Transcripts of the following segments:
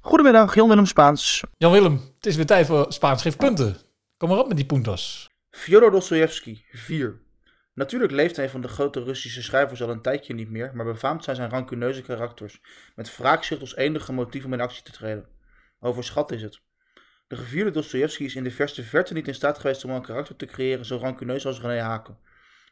Goedemiddag, Jan-Willem Spaans. Jan-Willem, het is weer tijd voor Spaans geeft punten. Kom maar op met die puntas. Fyodor Dostoevsky, 4. Natuurlijk leeft hij van de grote Russische schrijvers al een tijdje niet meer, maar befaamd zijn zijn rancuneuze karakters, met wraakzucht als enige motief om in actie te treden. Overschat is het. De gevierde Dostoevsky is in de verste verte niet in staat geweest om een karakter te creëren zo rancuneus als René Haken.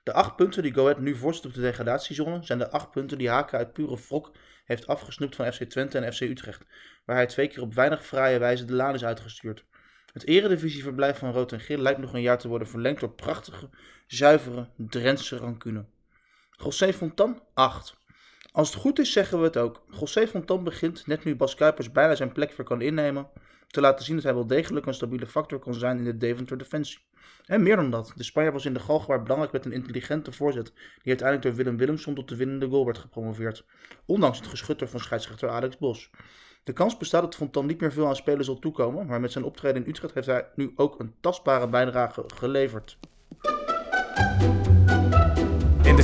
De acht punten die Go Ahead nu voorzet op de degradatiezone zijn de acht punten die Haken uit pure wrok heeft afgesnoept van FC Twente en FC Utrecht, waar hij twee keer op weinig fraaie wijze de laan is uitgestuurd. Het eredivisieverblijf van Rood en Geel lijkt nog een jaar te worden verlengd door prachtige, zuivere Drentse rancune. José Fontan, 8. Als het goed is zeggen we het ook. José Fontan begint, net nu Bas Kuipers bijna zijn plek weer kan innemen, te laten zien dat hij wel degelijk een stabiele factor kan zijn in de Deventer defensie. En meer dan dat, de Spanjaard was in de Galgenwaard belangrijk met een intelligente voorzet, die uiteindelijk door Willem Willemson tot de winnende goal werd gepromoveerd, ondanks het geschutter van scheidsrechter Alex Bos. De kans bestaat dat Fontan niet meer veel aan spelers zal toekomen, maar met zijn optreden in Utrecht heeft hij nu ook een tastbare bijdrage geleverd. In de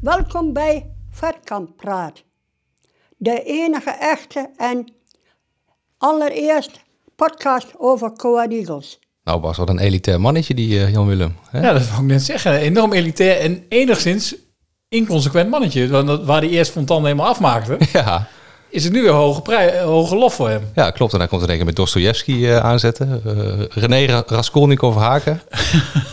Welkom bij Vetkamp Praat. De enige echte en allereerst podcast over Coa Eagles. Nou Bas, wat een elitair mannetje die eh, Jan Willem. Hè? Ja, dat wou ik net zeggen. Enorm elitair en enigszins inconsequent mannetje. Want dat- waar hij eerst Fontan helemaal afmaakte, Ja. is het nu weer hoge, prij- eh, hoge lof voor hem. ja, klopt. En dan komt er denk ik met Dostoevsky eh, aanzetten. Eh, René Ra- Raskolnikov Haken.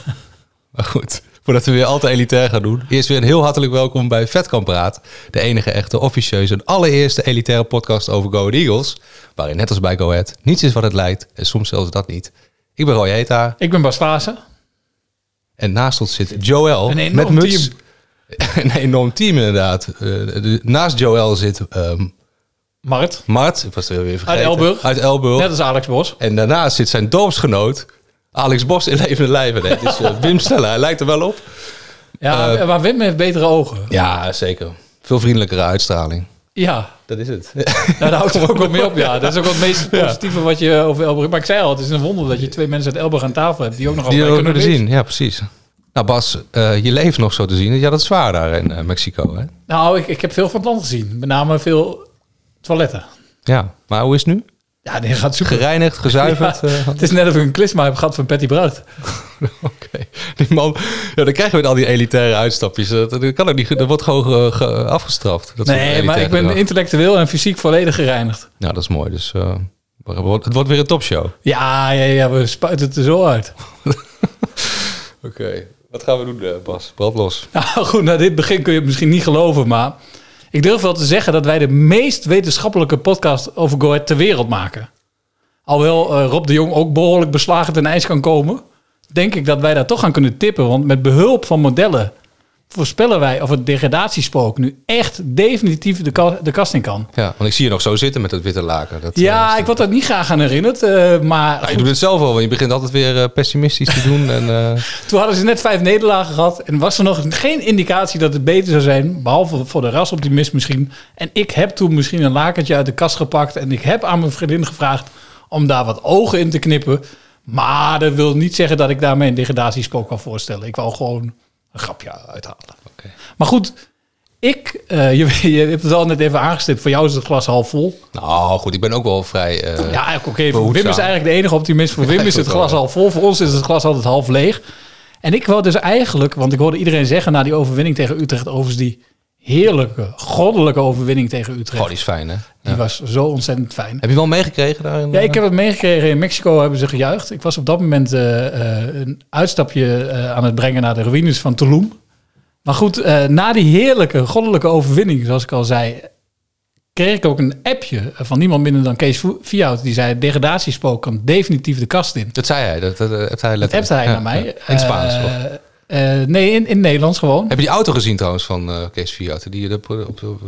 maar goed, voordat we weer altijd elitair gaan doen. Eerst weer een heel hartelijk welkom bij Vetkamp Praat. De enige echte officieuze en allereerste elitaire podcast over Go Ahead Eagles. Waarin net als bij Go Ahead niets is wat het lijkt. En soms zelfs dat niet. Ik ben Roy Heta Ik ben Bas Vaassen. en naast ons zit Joel Een enorm met muts. team. een enorm team inderdaad. Eh, de- naast Joel zit ehm, Mart, Mart, ik was het weer vergeten. Uit Elburg. Uit Elburg. net als Alex Bos. En daarnaast zit zijn dorpsgenoot Alex Bos in levende lijven. Nee, het is eh, Wim Steller. Hij lijkt er wel op. Ja, maar Wim heeft betere ogen. Ja, zeker. Veel vriendelijkere uitstraling. Ja, Dat is het. nou, daar houdt er ook wel mee op. Ja, dat is ook wel het meest positieve wat je over Elburg... Maar ik zei al, het is een wonder dat je twee mensen uit Elburg aan tafel hebt... die ook nog Die allebei we ook kunnen kunnen lezen. zien. Ja, precies. Nou Bas, eh, je leeft nog zo te zien. Ja, dat is zwaar daar in eh, Mexico. Hè? Nou, ik, ik heb veel van het land gezien. Met name veel toiletten. Ja, maar hoe is het nu? Ja, dit gaat super. Gereinigd, gezuiverd? Ja, eh, het is net of ik een klisma heb gehad van Patty Bruid. Oké, die man. Ja, dan krijgen we weer al die elitaire uitstapjes. Dat, dat kan ook niet. goed. Dat wordt gewoon eh, ge- afgestraft. Dat soort Nee, maar elitair ik ben gedrag. intellectueel en fysiek volledig gereinigd. Nou, dat is mooi. Dus eh, het wordt weer een topshow. Ja, ja, ja, we spuiten het er zo uit. Oké, wat gaan we doen, eh, Bas? Brand los. Nou goed, na dit begin kun je het misschien niet geloven, maar... Ik durf wel te zeggen dat wij de meest wetenschappelijke podcast over Go Ahead ter wereld maken. Alhoewel eh, Rob de Jong ook behoorlijk beslagen ten ijs kan komen... denk ik dat wij daar toch aan kunnen tippen. Want met behulp van modellen voorspellen wij of het degradatiespook... nu echt definitief de, ka- de kast in kan. Ja, want ik zie je nog zo zitten met dat witte laken. Dat, eh, Ja, is- ik word dat niet graag aan herinnerd. eh, maar Nou, je goed, doet het zelf al, want je begint altijd weer eh, pessimistisch te doen. En, eh, toen hadden ze net vijf nederlagen gehad. En was er nog geen indicatie dat het beter zou zijn. Behalve voor de rasoptimist misschien. En ik heb toen misschien een lakentje uit de kast gepakt. En ik heb aan mijn vriendin gevraagd om daar wat ogen in te knippen. Maar dat wil niet zeggen dat ik daarmee een degradatiespook kan voorstellen. Ik wou gewoon een grapje uithalen. Maar goed, ik, eh, je, je hebt het al net even aangestipt. Voor jou is het glas half vol. nou goed, ik ben ook wel vrij... eh, Ja, oké. voor behoedzaam. Wim is eigenlijk de enige optimist. Voor Wim ik is het ook wel, glas ja. al vol. Voor ons is het glas altijd half leeg. En ik wou dus eigenlijk, want ik hoorde iedereen zeggen na die overwinning tegen Utrecht, overigens die heerlijke, goddelijke overwinning tegen Utrecht. Oh, die is fijn, hè? die was zo ontzettend fijn. Heb je wel meegekregen daar? in, Ja, ik eh, heb het meegekregen. In Mexico hebben ze gejuicht. Ik was op dat moment eh, eh, een uitstapje eh, aan het brengen naar de ruïnes van Tulum. Maar goed, eh, na die heerlijke goddelijke overwinning, zoals ik al zei, kreeg ik ook een appje van niemand minder dan Kees Vo- Vierhout. Die zei, degradatiespook kan definitief de kast in. Dat zei hij, dat, dat, eh, hebt hij Dat letterlijk. appte hij Ja, naar mij. ja. In het Spaans, Eh, of? eh, nee, in, in Nederlands gewoon. Heb je die auto gezien trouwens van eh, Kees Fiat? Die je op, op, op-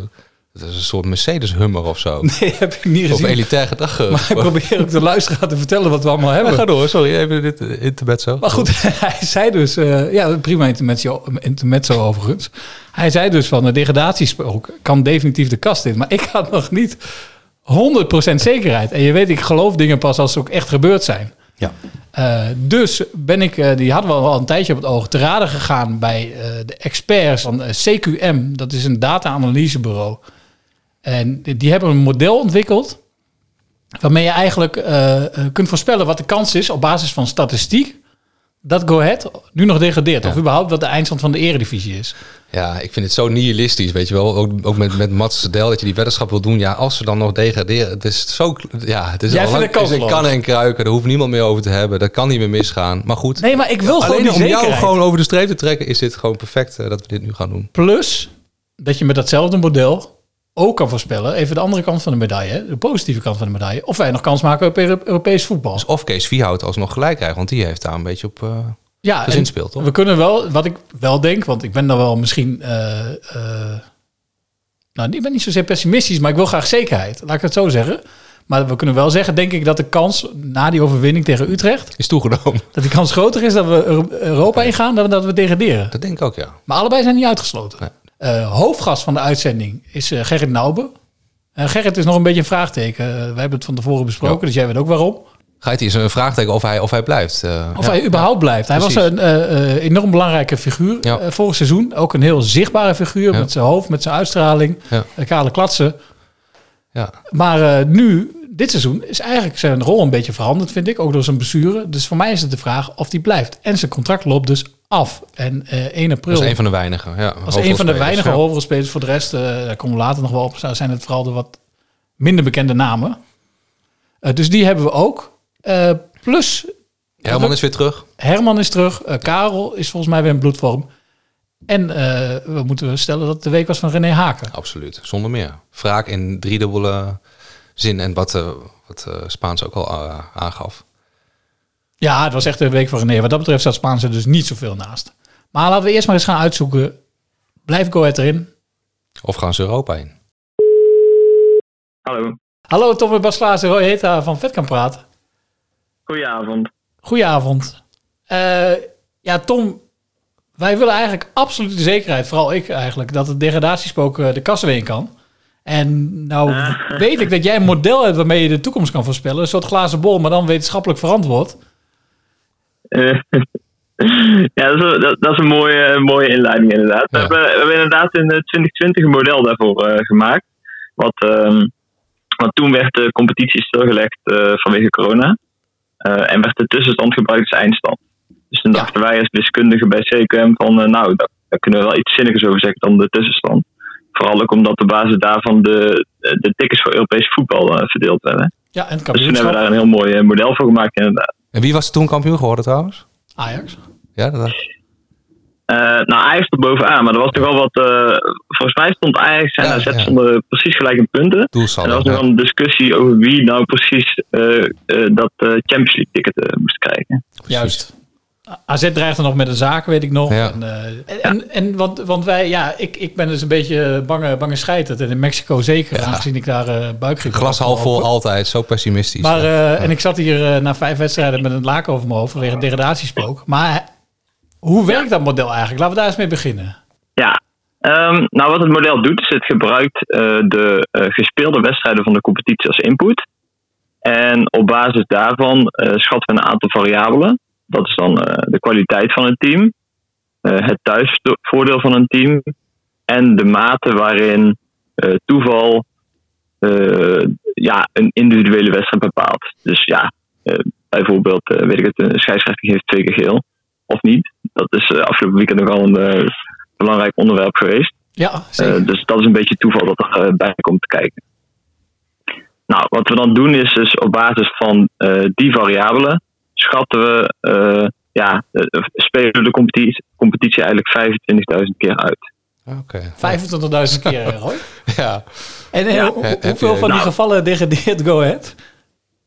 Dat is een soort Mercedes-hummer of zo. Nee, heb ik niet of gezien. elitair gedrag. maar ik probeer ook de luisteraar te vertellen wat we allemaal hebben. Ga door, sorry. Even dit eh, internet zo. Maar goed, hij zei dus... eh, ja, prima intermezzo, intermezzo overigens. Hij zei dus van de degradatiespook kan definitief de kast in. Maar ik had nog niet 100% zekerheid. En je weet, ik geloof dingen pas als ze ook echt gebeurd zijn. Ja. Eh, dus ben ik, eh, die hadden we al een tijdje op het oog, te raden gegaan bij eh, de experts van eh, CQM. Dat is een data-analysebureau. En die, die hebben een model ontwikkeld waarmee je eigenlijk eh, eh, kunt voorspellen wat de kans is op basis van statistiek dat Go Ahead nu nog degradeert. Of überhaupt wat de eindstand van de eredivisie is. Ja, ik vind het zo nihilistisch, weet je wel. Ook, ook met, met Mats Del, dat je die weddenschap wil doen. Ja, als ze dan nog degraderen. Het is zo... Ja, het is Jij al vindt lang- het kansloos. is een kan en kruiken. Daar hoeft niemand meer over te hebben. Dat kan niet meer misgaan. Maar goed, Nee, maar ik wil gewoon alleen die om jou zekerheid. gewoon over de streep te trekken... is dit gewoon perfect eh, dat we dit nu gaan doen. Plus dat je met datzelfde model ook kan voorspellen, even de andere kant van de medaille, hè, de positieve kant van de medaille, of wij nog kans maken op Euro- Europees voetbal. Dus of Kees Vierhout alsnog gelijk krijgt. Want die heeft daar een beetje op... eh, Ja, Dus en inspeelt, toch? We kunnen wel, wat ik wel denk, want ik ben daar wel misschien. eh, eh, nou, ik ben niet zozeer pessimistisch, maar ik wil graag zekerheid. Laat ik het zo zeggen. Maar we kunnen wel zeggen, denk ik, dat de kans na die overwinning tegen Utrecht. is toegenomen. dat die kans groter is dat we Euro- Europa ingaan dan dat we degraderen. Dat denk ik ook, ja. Maar allebei zijn niet uitgesloten. Eh, hoofdgast van de uitzending is eh, Gerrit Nauben. Eh Gerrit is nog een beetje een vraagteken. Eh, we hebben het van tevoren besproken, Ja. dus jij weet ook waarom. Geit is een vraagteken of hij, of hij blijft. eh. Of Ja. hij überhaupt blijft. Hij was precies. een eh, eh, enorm belangrijke figuur Ja. eh, vorig seizoen. Ook een heel zichtbare figuur Ja. met zijn hoofd, met zijn uitstraling. Ja. eh, kale klatsen. Ja. Maar eh, nu, dit seizoen, is eigenlijk zijn rol een beetje veranderd, vind ik. Ook door zijn blessure. Dus voor mij is het de vraag of hij blijft. En zijn contract loopt dus af. En eh 1 april... Dat is een van de weinigen. Ja, Als een van de hoofdrolspelers. weinige Ja. hoofdrolspelers. Voor de rest, eh, daar komen we later nog wel op, zijn het vooral de wat minder bekende namen. Eh, dus die hebben we ook. Eh, plus, Herman is weer terug. Herman is terug. eh, Karel is volgens mij weer in bloedvorm. En eh, we moeten stellen dat het de week was van René Haken. Absoluut, zonder meer. Wraak in driedubbele zin en wat, eh, wat eh, Spaans ook al eh, aangaf. Ja, het was echt de week van René. Wat dat betreft staat Spaans er dus niet zoveel naast. Maar laten we eerst maar eens gaan uitzoeken. Blijft Go Ahead erin? Of gaan ze Europa in? Hallo, Hallo Tom en Bas Klaas en Roy Heta van Vet kan praten. goedenavond. Goedenavond. Eh, ja, Tom, wij willen eigenlijk absolute zekerheid, vooral ik eigenlijk, dat het degradatiespook eh, de kassen weer in kan. En nou Ah. weet ik dat jij een model hebt waarmee je de toekomst kan voorspellen. Een soort glazen bol, maar dan wetenschappelijk verantwoord. Eh, ja, dat is, een- dat, dat is een mooie, een mooie inleiding inderdaad. We, Ja. hebben, we hebben inderdaad in eh, 2020 een model daarvoor eh, gemaakt. Wat, ehm, want toen werd de competitie stilgelegd eh, vanwege corona. Eh, en werd de tussenstand gebruikt als eindstand. Dus toen Ja. dachten wij als wiskundigen bij CQM van... eh, nou, daar, daar kunnen we wel iets zinnigs over zeggen dan de tussenstand. Vooral ook omdat de basis daarvan de, de tickets voor Europees voetbal eh, verdeeld werden. Ja, en het Dus toen hebben we kampioenschap. daar een heel mooi eh, model voor gemaakt inderdaad. En wie was toen kampioen geworden trouwens? Ajax. Ja, dat, Eh, nou, Ajax stond bovenaan, maar er was toch wel wat. eh, volgens mij stond Ajax en Ja, AZ ja. stonden precies gelijk in punten. En er doelsaldo. was nog ja. wel een discussie over wie nou precies eh, eh, dat eh, Champions League ticket eh, moest krijgen. Juist. A- AZ dreigde nog met een zaak, weet ik nog. Ja. En, eh, en, en want, want wij, ja, ik, ik ben dus een beetje bange, bange scheiterd. En in Mexico zeker, aangezien ik daar eh buikgriep had Glas half vol opgelopen. altijd, zo pessimistisch. Maar, Ja. eh, En ik zat hier eh, na vijf wedstrijden met een laken over mijn hoofd vanwege een degradatiespook. Maar eh, hoe werkt dat model eigenlijk? Laten we daar eens mee beginnen. Ja, Ehm, nou wat het model doet, is het gebruikt eh, de eh, gespeelde wedstrijden van de competitie als input. En op basis daarvan eh, schatten we een aantal variabelen. Dat is dan eh, de kwaliteit van een team, eh, het thuisvoordeel van een team en de mate waarin eh, toeval eh, ja, een individuele wedstrijd bepaalt. Dus ja, eh, bijvoorbeeld, eh, weet ik het, een scheidsrechter geeft twee keer geel of niet. Dat is eh, afgelopen weekend nogal een eh, belangrijk onderwerp geweest. Ja, Eh, zeker. dus dat is een beetje toeval dat er eh, bij komt kijken. Nou, wat we dan doen is dus op basis van eh, die variabelen schatten we, eh, ja, eh, spelen we de competitie, competitie eigenlijk 25.000 keer uit. Ah, Oké. 25.000 keer, eh, Roy. Ja. En eh, Ja. hoe- Heb je- hoeveel van die Nou. gevallen degradeert Go Ahead?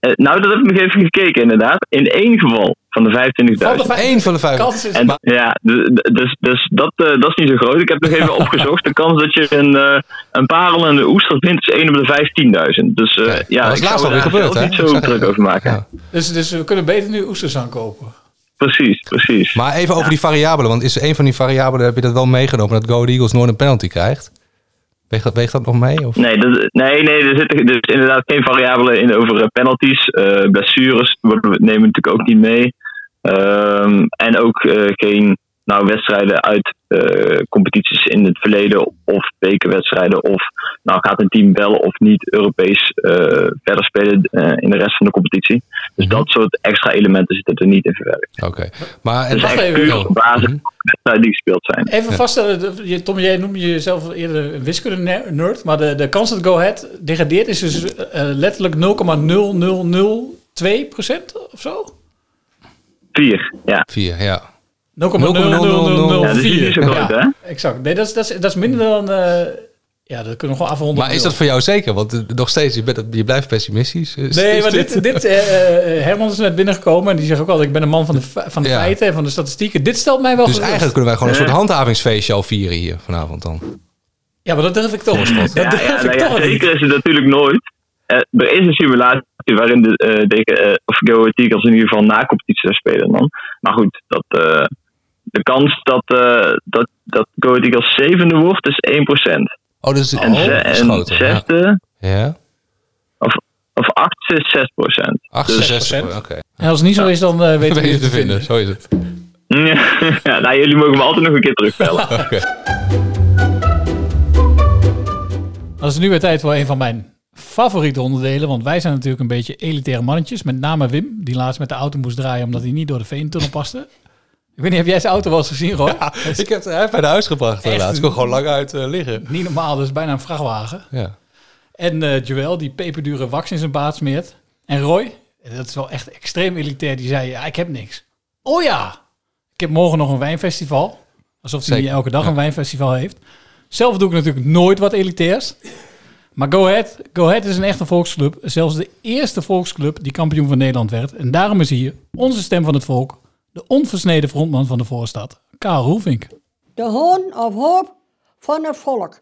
Eh, nou, dat heb ik nog even gekeken, inderdaad. In één geval van de 25.000. Van de vijf- Eén van de vijf. Kans is En ja, d- d- dus, dus dat, eh, dat is niet zo groot. Ik heb nog even opgezocht. De kans dat je een, eh, een parel en een oester vindt is 1 op de 15.000. Dus eh, Kijk, ja, dat is ik laatst zou alweer daar gebeurd, zelf hè? niet zo druk over maken. Ja. Dus, dus we kunnen beter nu oesters aankopen. Precies, precies. Maar even over die variabelen. Want is er een van die variabelen, heb je dat wel meegenomen, dat Go Ahead Eagles nooit een penalty krijgt? Weegt dat, weegt dat nog mee? Of? Nee, dat, nee, nee, er zitten dus inderdaad geen variabelen in over eh, penalties. Eh, blessures worden we- nemen we natuurlijk ook niet mee. Ehm, en ook eh, geen nou, wedstrijden uit eh, competities in het verleden of bekerwedstrijden. Of nou, gaat een team wel of niet Europees eh, verder spelen eh, in de rest van de competitie. Dus dat soort extra elementen zitten er niet in verwerkt. Oké. Maar en, Het Dus is Wacht echt even, puur joh. op basis van de wedstrijden die gespeeld zijn. Even vaststellen, de- je- Tom, jij noemde jezelf eerder een wiskunde-nerd. Maar de, de kans dat Go Ahead degradeert is dus eh, letterlijk 0,0002 of zo? 0,0004. Vier, ja. vier, ja. ja dat is niet zo groot, hè? exact. Nee, dat is, dat is, dat is minder dan... eh, ja, dat kunnen we gewoon afronden. Maar is dat voor jou zeker? Want eh, nog steeds, je, bent, je blijft pessimistisch. Is- Nee, is maar dit, dit eh, eh, Herman is net binnengekomen en die zegt ook altijd: ik ben een man van de, fe- van de Ja. feiten en van de statistieken. Dit stelt mij wel Dus gerust. eigenlijk kunnen wij gewoon een Nee. soort handhavingsfeestje al vieren hier vanavond dan. Ja, maar dat durf ik toch eens Dat Ja, durf ja, ik nou ja, toch niet. zeker is het natuurlijk nooit. Eh, er is een simulatie waarin de, eh de, eh, of Go Ahead Eagles in ieder geval na competitie zou spelen dan. Maar goed, dat, eh, de kans dat, eh, dat, dat Go Ahead Eagles zevende wordt is 1%. Oh, dus En, ze- oh, en schoten. Ja. zesde ja. of, of achtste is Dus, 6%. 68. Oké. En als het niet zo is, dan eh weten we Weet je het te vinden, zo is het. Ja, nou, jullie mogen me altijd nog een keer terugbellen. Dan is het nu weer tijd voor een van mijn favoriete onderdelen. Want wij zijn natuurlijk een beetje elitaire mannetjes. Met name Wim, die laatst met de auto moest draaien omdat hij niet door de veentunnel paste. Ik weet niet, heb jij zijn auto wel eens gezien, Roy? Dat is Ik heb het hij heeft mij naar huis gebracht Echt? helaas. Ik kon gewoon lang uit eh, liggen. niet normaal, dat is bijna een vrachtwagen. Ja. En eh Joël, die peperdure wax in zijn baard smeert. En Roy, dat is wel echt extreem elitair, die zei, ja, ik heb niks. Oh ja, ik heb morgen nog een wijnfestival. Alsof hij Zeker, niet elke dag ja. een wijnfestival heeft. Zelf doe ik natuurlijk nooit wat elitairs. Maar Go Ahead, Go Ahead is een echte volksclub. Zelfs de eerste volksclub die kampioen van Nederland werd. En daarom is hier onze stem van het volk. De onversneden frontman van de voorstad, Karel Roelvink. De hoon of hoop van het volk.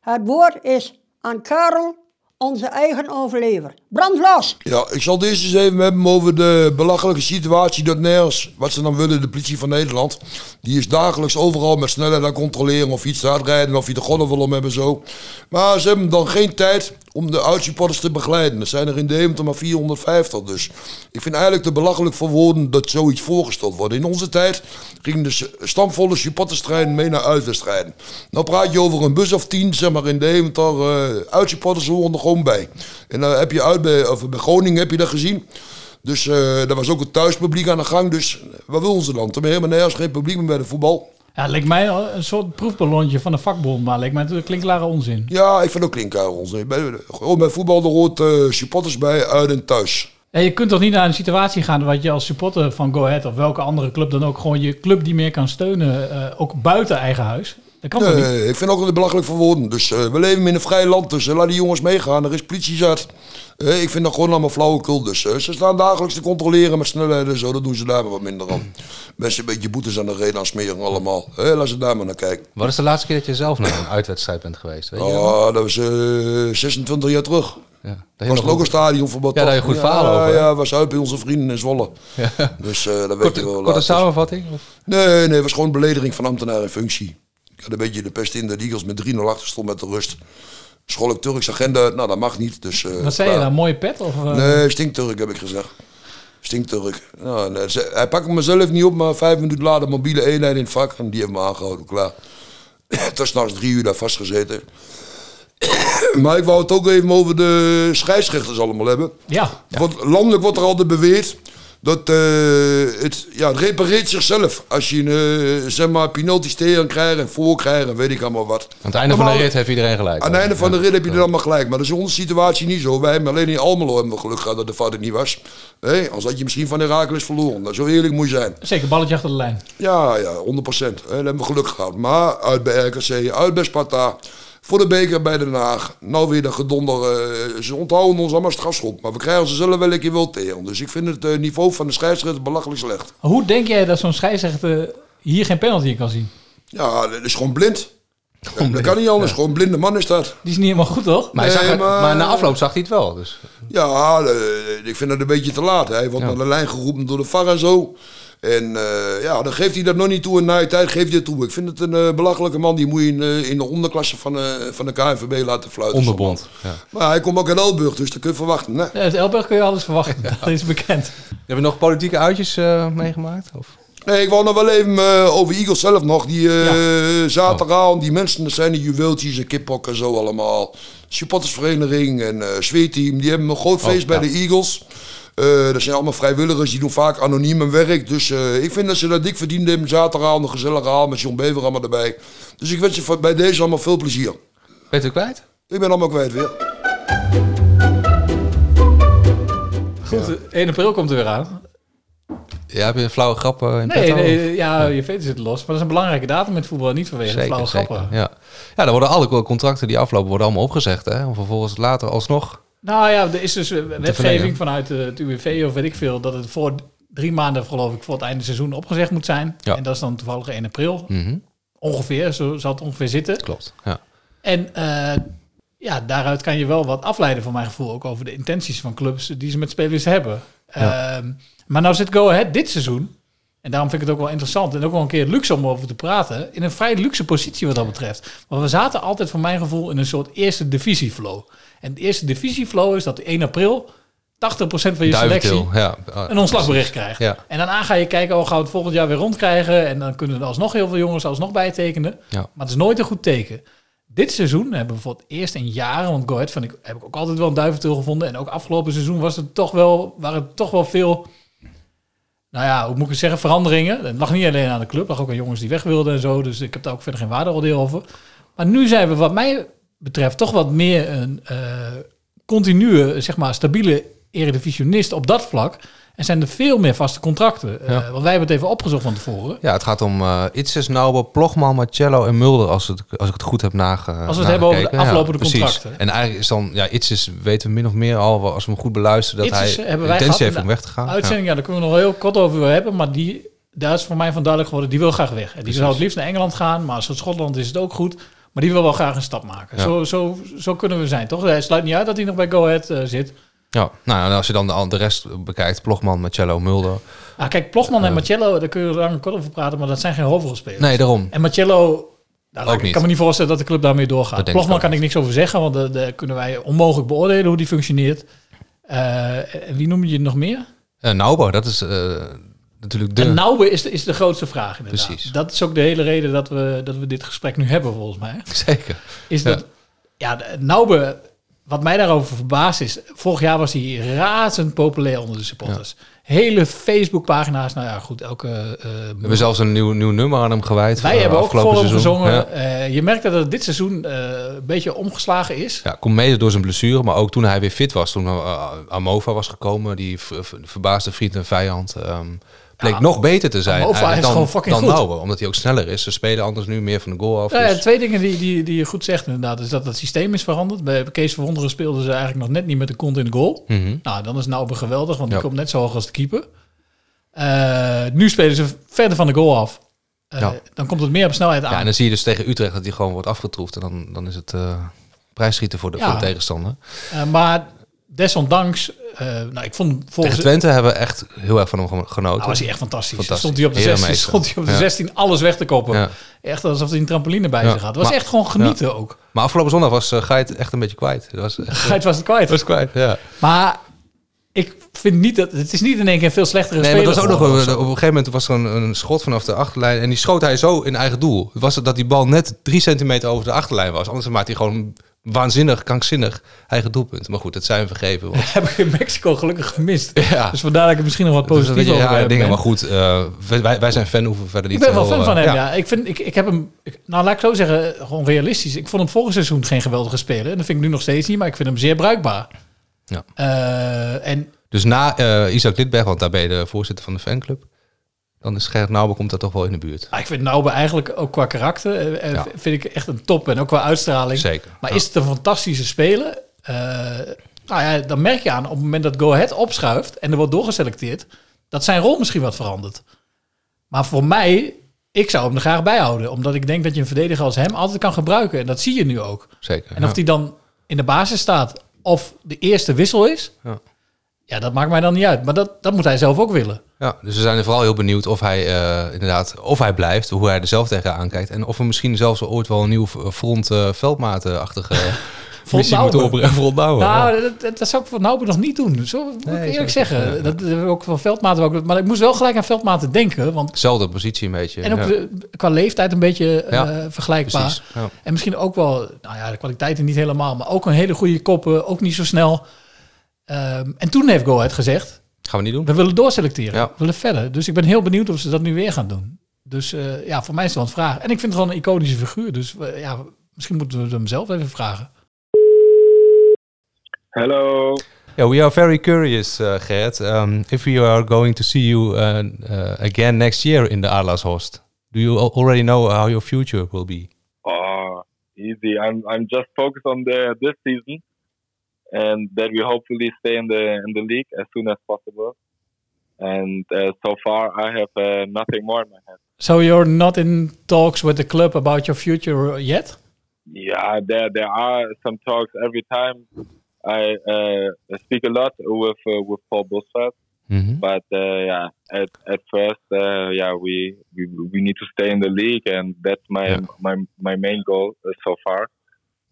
Het woord is aan Karel, onze eigen overlever. Brand los! Ja, ik zal het eerst eens even hebben over de belachelijke situatie dat nergens, wat ze dan willen, de politie van Nederland, die is dagelijks overal met snelheid aan het controleren of iets te hard rijden, of je de godden wil om hebben zo. Maar ze hebben dan geen tijd om de uitsupporters te begeleiden. Er zijn er in Deventer maar 450 dus. Ik vind eigenlijk te belachelijk voor woorden dat zoiets voorgesteld wordt. In onze tijd gingen de s- stamvolle supporterstreinen mee naar uitwedstrijden. Nou praat je over een bus of tien, zeg maar in Deventer, eh uitsupporters horen er gewoon bij. En dan heb je uit bij, of bij Groningen heb je dat gezien. Dus eh er was ook het thuispubliek aan de gang. Dus wat wil onze land? Er is helemaal nergens geen publiek meer bij de voetbal. Ja, leek mij een soort proefballontje van een vakbond, maar leek mij natuurlijk klinklare onzin. Ja, ik vind ook klinkkarels. Gewoon bij voetbal, er hoort eh, supporters bij, uit en thuis. Ja, je kunt toch niet naar een situatie gaan wat je als supporter van Go Ahead of welke andere club dan ook gewoon je club die meer kan steunen, eh, ook buiten eigen huis. Dat kan toch niet? Nee, Eh, ik vind ook het belachelijk voor woorden. Dus eh, we leven in een vrij land, dus eh, laat die jongens meegaan. Er is politie zat. Eh, ik vind dat gewoon allemaal flauwekul. Dus eh, ze staan dagelijks te controleren met snelheid en zo. Dat doen ze daar maar wat minder aan. Mensen een beetje boetes aan de reden aan smeren allemaal. Eh, laat ze daar maar naar kijken. Wat is de laatste keer dat je zelf naar een uitwedstrijd bent geweest? Weet je? wel? Ah, dat was eh, 26 jaar terug. ja. Dat je was nog het ook een een stadionverbod? Ja, toch? daar heb je goed verhaal over, hè? Ja, was uit bij onze vrienden in Zwolle. Dus eh dat weet korte, ik wel. korte later. samenvatting? Of? Nee, nee, het was gewoon belediging van ambtenaar in functie. Ik had een beetje de pest in dat Eagles met 3-0 achter stond met de rust. School ik Turks agenda, uit. nou dat mag niet. Dus, eh, Wat zei je klaar. daar? Mooie pet? Of, eh, Nee, stinkturk heb ik gezegd. Stinkturk. Nou, en, eh, ze- hij pakte mezelf niet op, maar vijf minuten later mobiele eenheid in het vak. En die heeft me aangehouden, klaar. Tot s'nachts drie uur daar vastgezeten. maar ik wou het ook even over de scheidsrechters allemaal hebben. Ja, Want landelijk wordt er altijd beweerd dat eh, het, ja, het repareert zichzelf. Als je een eh, zeg maar, penalties tegen krijgt en voor krijgt en weet ik allemaal wat. Aan het einde van de Normaal- rit heeft iedereen gelijk. Oh, aan het einde van de rit heb je er allemaal gelijk. Maar dat is in onze situatie niet zo. Wij hebben alleen in Almelo hebben we geluk gehad dat de vader niet was. Hé, als had je misschien van Herakles verloren. Nou, zo eerlijk moet je zijn. zeker. Balletje achter de lijn. Ja, ja, 100 procent. Dat hebben we geluk gehad. Maar uit bij RKC, uit bij Sparta. voor de beker bij Den Haag. Nou weer dat gedonder. eh, ze onthouden ons allemaal strafschop. Maar we krijgen ze zelf wel een keer wel tegen. Dus ik vind het eh, niveau van de scheidsrechter belachelijk slecht. Hoe denk jij dat zo'n scheidsrechter hier geen penalty in kan zien? Ja, dat is gewoon blind. dat kan niet anders. Gewoon een blinde man is dat. Die is niet helemaal goed, toch? Maar hij zag Nee, het- maar- maar na afloop zag hij het wel. Dus. Ja, eh, ik vind dat een beetje te laat. Hij wordt naar de lijn geroepen door de VAR en zo. En eh, ja, dan geeft hij dat nog niet toe. En na je tijd geeft hij het toe. Ik vind het een eh, belachelijke man. Die moet je in, eh, in de onderklasse van, eh, van de KNVB laten fluiten. Onderbond. Ja. Maar hij komt ook in Elburg, dus dat kun je verwachten. Hè? Eh, Uit Elberg kun je alles verwachten. Dat is bekend. Hebben we nog politieke uitjes eh, meegemaakt? Of? Nee, ik wou nog wel even eh, over Eagles zelf nog. Die eh, zaterdagavond, die mensen, dat zijn de juweeltjes en kippok en zo allemaal. Supportersvereniging en eh zweetteam, die hebben een groot Oh, feest bij ja. de Eagles. Eh dat zijn allemaal vrijwilligers, die doen vaak anoniem hun werk. Dus eh, ik vind dat ze dat dik verdiend hebben. Zaterdagavond een gezellige avond met John Bever allemaal erbij. Dus ik wens je van- bij deze allemaal veel plezier. Bent u kwijt? Ik ben allemaal kwijt weer. Goed, eh, 1 april komt er weer aan. Ja, heb je een flauwe grap eh, Nee, in petto? nee ja, je veter zit los. Maar dat is een belangrijke datum met voetbal. Niet vanwege de Zeker, flauwe zeker. grappen. Ja. ja, dan worden alle contracten die aflopen worden allemaal opgezegd. Hè? Om vervolgens later alsnog... Nou ja, er is dus eh, verlengen. wetgeving vanuit eh, het UWV of weet ik veel... dat het voor drie maanden, geloof ik, voor het einde seizoen opgezegd moet zijn. Ja. En dat is dan toevallig 1 april. Mhm. Ongeveer, zo zal het ongeveer zitten. Klopt, ja. En eh, ja, daaruit kan je wel wat afleiden van mijn gevoel... ook over de intenties van clubs die ze met spelers hebben. Ja. Ehm, maar nou zit Go Ahead dit seizoen... en daarom vind ik het ook wel interessant... en ook wel een keer luxe om over te praten... in een vrij luxe positie wat dat betreft. Want we zaten altijd voor mijn gevoel in een soort eerste divisieflow. En de eerste divisieflow is dat 1 april... 80% van je selectie Duiventil, ja. eh, een ontslagbericht krijgt. Ja. En daarna ga je kijken, oh, gaan we het volgend jaar weer rondkrijgen... en dan kunnen er alsnog heel veel jongens alsnog bijtekenen. Ja. Maar het is nooit een goed teken. Dit seizoen hebben we voor het eerst in jaren, want Go Ahead vind ik, heb ik ook altijd wel een duiventil gevonden. En ook afgelopen seizoen was het toch wel, waren het toch wel veel, nou ja, hoe moet ik het zeggen, veranderingen. Het lag niet alleen aan de club, het lag ook aan jongens die weg wilden en zo. Dus ik heb daar ook verder geen waardeoordeel over. Maar nu zijn we wat mij betreft toch wat meer een eh, continue, zeg maar stabiele eredivisionist op dat vlak. En zijn er veel meer vaste contracten. Eh, Ja. want wij hebben het even opgezocht van tevoren. Ja, het gaat om eh Itzes, Naube, Plochman, Marcello en Mulder, als, het, als ik het goed heb nage Als we het hebben over de nagekeken. aflopende precies. contracten. En eigenlijk is dan, ja, Itzes weten we min of meer al, wel, als we hem goed beluisteren, dat Itzes hij eh, hebben wij intentie gehad heeft in om de weg te gaan. Uitzending, ja. daar kunnen we nog heel kort over hebben. Maar die, daar is voor mij van duidelijk geworden, die wil graag weg. En die zou het liefst naar Engeland gaan, maar als het Schotland is het ook goed. Maar die wil wel graag een stap maken. Ja. Zo, zo, zo kunnen we zijn, toch? Het sluit niet uit dat hij nog bij Go Ahead eh, zit. Ja. ja, nou en als je dan de, de rest bekijkt, Plochman, Marcello, Mulder. Ah, kijk, Plochman en Marcello, daar kunnen we lang en kort over praten, maar dat zijn geen hoofdrolspelers. Nee, daarom. En Marcello, nou, Ook ik niet. kan me niet voorstellen dat de club daarmee Dat doorgaat. denk ik Plochman ook kan ik niks over zeggen, want eh, daar kunnen wij onmogelijk beoordelen hoe die functioneert. Eh, en wie noem je nog meer? Eh Naube, dat is eh, natuurlijk de... En Nauwe is de, is de grootste vraag inderdaad. Precies. Dat is ook de hele reden dat we, dat we dit gesprek nu hebben volgens mij. Zeker. Is dat, ja, de- Nauwe, wat mij daarover verbaasd is... Vorig jaar was hij razend populair onder de supporters. Hele Facebookpagina's, nou ja goed, elke... eh, We hebben zelfs een nieuw, nieuw nummer aan hem gewijd. wij eh, hebben ook voor afgelopen hem seizoen. gezongen. Ja. Eh, je merkt dat het dit seizoen eh, een beetje omgeslagen is. Ja, komt mede door zijn blessure, maar ook toen hij weer fit was. Toen eh, Amova was gekomen, die ver- ver- verbaasde vriend en vijand. ehm, bleek nog beter te zijn Amova is eigenlijk gewoon dan, fucking dan goed. Nauwe. Omdat hij ook sneller is. Ze spelen anders nu meer van de goal af. Nou ja, dus- twee dingen die, die, die je goed zegt inderdaad, is dat het systeem is veranderd. Bij Kees Verwonderen speelden ze eigenlijk nog net niet met de kont in de goal. Mhm. Nou, dan is Nauber geweldig, want die Ja. komt net zo hoog als de keeper. Eh, nu spelen ze verder van de goal af. Eh, Ja. Dan komt het meer op snelheid ja, aan. en dan zie je dus tegen Utrecht dat hij gewoon wordt afgetroefd. En dan, dan is het eh prijsschieten voor de, Ja. voor de tegenstander. Eh, maar desondanks, eh, nou, ik vond volgens Tegen Twente hebben we echt heel erg van hem genoten. Nou, was hij echt fantastisch. Fantastisch. Stond hij op de 16, Herenmeester. stond hij op de Ja. 16 alles weg te koppen. Ja. Echt alsof hij een trampoline bij Ja. zich had. Het was Maar- echt gewoon genieten ja. ook. Maar afgelopen zondag was eh, Geit echt een beetje kwijt. Het was echt, Geit was het kwijt. was kwijt, ja. Maar ik vind niet dat... Het is niet in één keer een veel slechtere Nee, maar speler dat was ook nog geworden een- of op zo. een gegeven moment was er een, een schot vanaf de achterlijn en die schoot hij zo in eigen doel. Het was het dat die bal net drie centimeter over de achterlijn was. Anders maakt hij gewoon waanzinnig, krankzinnig eigen doelpunt. Maar goed, dat zijn we vergeven. want- Heb ik in Mexico gelukkig gemist. ja, Dus vandaar dat ik er misschien nog wat dat is een positief beetje over heb. rare dingen. Maar goed, eh, wij, wij zijn fan, hoeven we verder Ik niet ben wel heel, fan van eh, hem, ja. Ik, vind, ik, ik heb hem, ik- nou laat ik zo zeggen, eh, gewoon realistisch. Ik vond hem vorig seizoen geen geweldige speler. En dat vind ik nu nog steeds niet, maar ik vind hem zeer bruikbaar. Ja. Eh, en Dus na eh, Isaac Lidberg, want daar ben je de voorzitter van de fanclub. dan is Gerrit Nauber komt daar toch wel in de buurt. Ah, ik vind Naube eigenlijk ook qua karakter eh, eh, Ja. vind ik echt een top en ook qua uitstraling. Zeker, Maar ja. is het een fantastische speler? Eh, nou ja, dan merk je aan op het moment dat Go Ahead opschuift en er wordt doorgeselecteerd, dat zijn rol misschien wat verandert. Maar voor mij, ik zou hem er graag bij houden, omdat ik denk dat je een verdediger als hem altijd kan gebruiken en dat zie je nu ook. Zeker. En of ja. die dan in de basis staat of de eerste wissel is, Ja. ja, dat maakt mij dan niet uit. Maar dat, dat moet hij zelf ook willen. Ja, dus we zijn er vooral heel benieuwd of hij eh, inderdaad, of hij blijft, hoe hij er zelf tegenaan kijkt. En of er misschien zelfs ooit wel een nieuw front eh veldmaatachtige missie moet Nauwen. opbrengen. Front Nauwen, ja. Nou, dat, dat, dat zou ik voor Nauber nog niet doen. Zo moet Nee, ik zou eerlijk ik- zeggen. ja, ja. Dat hebben we ook van Veldmaten. Ook, maar ik moest wel gelijk aan Veldmaten denken. Want, Zelfde positie een beetje. en ook ja. de- qua leeftijd een beetje eh, Ja, vergelijkbaar. Precies. Ja. En misschien ook wel, nou ja, de kwaliteiten niet helemaal. Maar ook een hele goede koppen. Ook niet zo snel. Ehm, en toen heeft Go Ahead gezegd, Gaan we niet doen. we willen doorselecteren. Ja. We willen verder. Dus ik ben heel benieuwd of ze dat nu weer gaan doen. Dus eh, ja, voor mij is dat een vraag. En ik vind het gewoon een iconische figuur. Dus eh, ja, misschien moeten we hem zelf even vragen. Hello. Yeah, we are very curious, uh, Gert, um, if we are going to see you uh, uh, again next year in the Arlas Host. Do you al- already know how your future will be? Oh, easy. I'm I'm just focused on the this season, and that we hopefully stay in the in the league as soon as possible. And uh, so far, I have uh, nothing more in my head. So you're not in talks with the club about your future yet? Yeah, there there are some talks every time. I uh, speak a lot with uh, with Paul Busfeld, Mhm. but uh, yeah, at at first, uh, yeah, we, we we need to stay in the league, and that's my my my main goal uh, so far.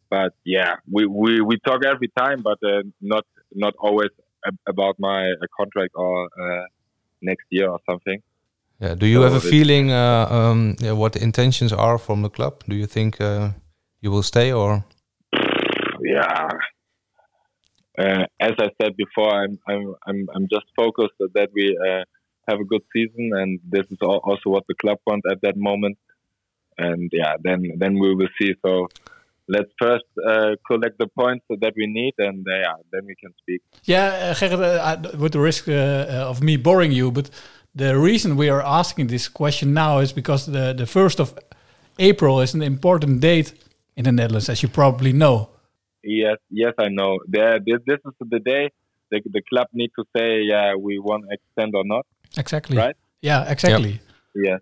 But yeah, we, we, we talk every time, but uh, not not always ab- about my uh, contract or uh, next year or something. Yeah, do you So have a it's- feeling uh, um, yeah, what the intentions are from the club? Do you think uh, you will stay or? yeah. Uh, as I said before, I'm I'm I'm I'm just focused that we uh, have a good season, and this is al- also what the club wants at that moment. And yeah, then then we will see. So let's first uh, collect the points that we need, and uh, yeah, then we can speak. Yeah, uh, Gerrit, uh, I- with the risk uh, uh, of me boring you, but the reason we are asking this question now is because the the first of April is an important date in the Netherlands, as you probably know. Yes, yes, I know. There, this, this is the day the the club need to say, yeah, we want extend or not. Exactly. Right. Yeah, exactly. Yes.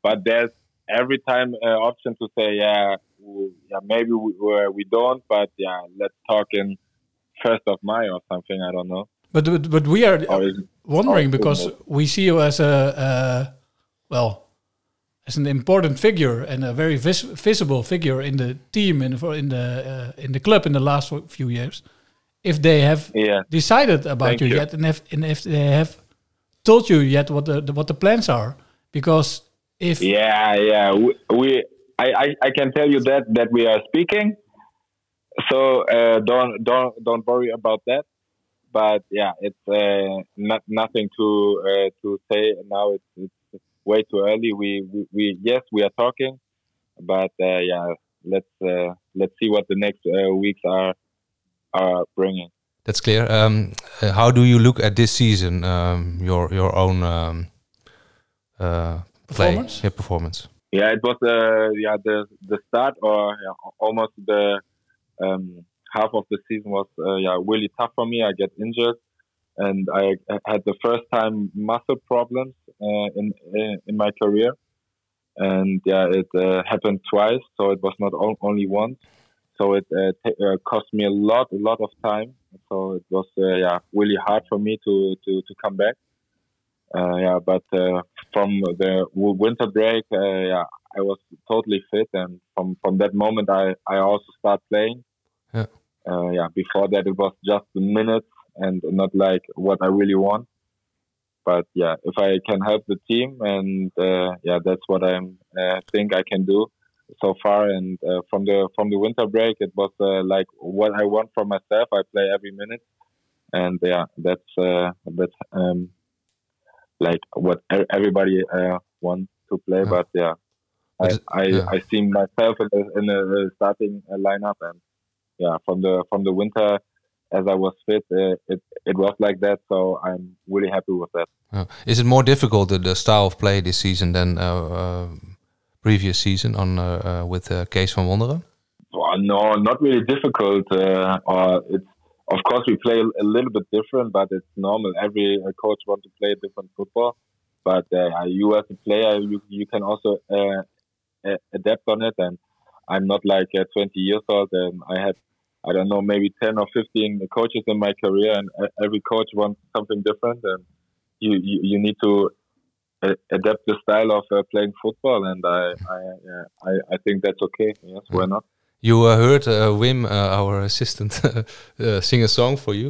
But there's every time uh, option to say, yeah, w- yeah maybe we, we we don't, but yeah, let's talk in first of May or something. I don't know. But, but but we are Or Oh, is- wondering or- because we see you as a uh, well as an important figure and a very vis- visible figure in the team and for in the uh, in the club in the last few years. If they have Yeah. decided about Thank you, you. yet and if and if they have told you yet what the, the what the plans are, because if yeah, yeah, we, we I, I, I can tell you that that we are speaking. So uh, don't don't don't worry about that. But yeah, it's uh, not nothing to uh, to say now. It's, it's way too early. We, we, we yes, we are talking, but uh, yeah, let's uh, let's see what the next uh, weeks are are bringing. That's clear. Um, uh, how do you look at this season? Um, your your own um, uh, Performance? play, yeah, performance. Yeah, it was uh, yeah the the start or yeah, al- almost the um, half of the season was uh, yeah really tough for me. I get injured, and I I had the first time muscle problems uh, in in- in my career, and yeah it uh, happened twice, so it was not on- only once. So it uh, t- uh, cost me a lot a lot of time. So it was uh, yeah really hard for me to to to come back. Uh, yeah, but uh, from the w- winter break, uh, yeah, I was totally fit, and from, from that moment, I, I also start playing. Yeah. Uh, yeah. Before that, it was just the minutes and not like what I really want. But yeah, if I can help the team, and uh, yeah, that's what I uh, think I can do so far. And uh, from the from the winter break, it was uh, like what I want for myself. I play every minute, and yeah, that's uh, that's um, like what e- everybody uh, wants to play. But yeah, I I, I see uh, myself in a, in a starting uh, lineup, and yeah, from the from the winter as I was fit, uh, it it was like that. So I'm really happy with that. Yeah. Uh, Is it more difficult the, the style of play this season than uh, uh, previous season on uh, uh, with uh, Kees van Wonderen? Well, no, not really difficult. Uh, or it's of course we play a little bit different, but it's normal. Every uh, coach wants to play different football, but uh, you as a player, you you can also uh, a- adapt on it. And I'm not like uh, 20 years old, and I had I don't know maybe 10 or 15 coaches in my career, and uh, every coach wants something different, and you you, you need to. uh, Adapt the style of uh, playing football, and I, I, uh, I, I think that's okay. Yes, why not? You uh, heard uh, Wim, uh, our assistant, uh, sing a song for you.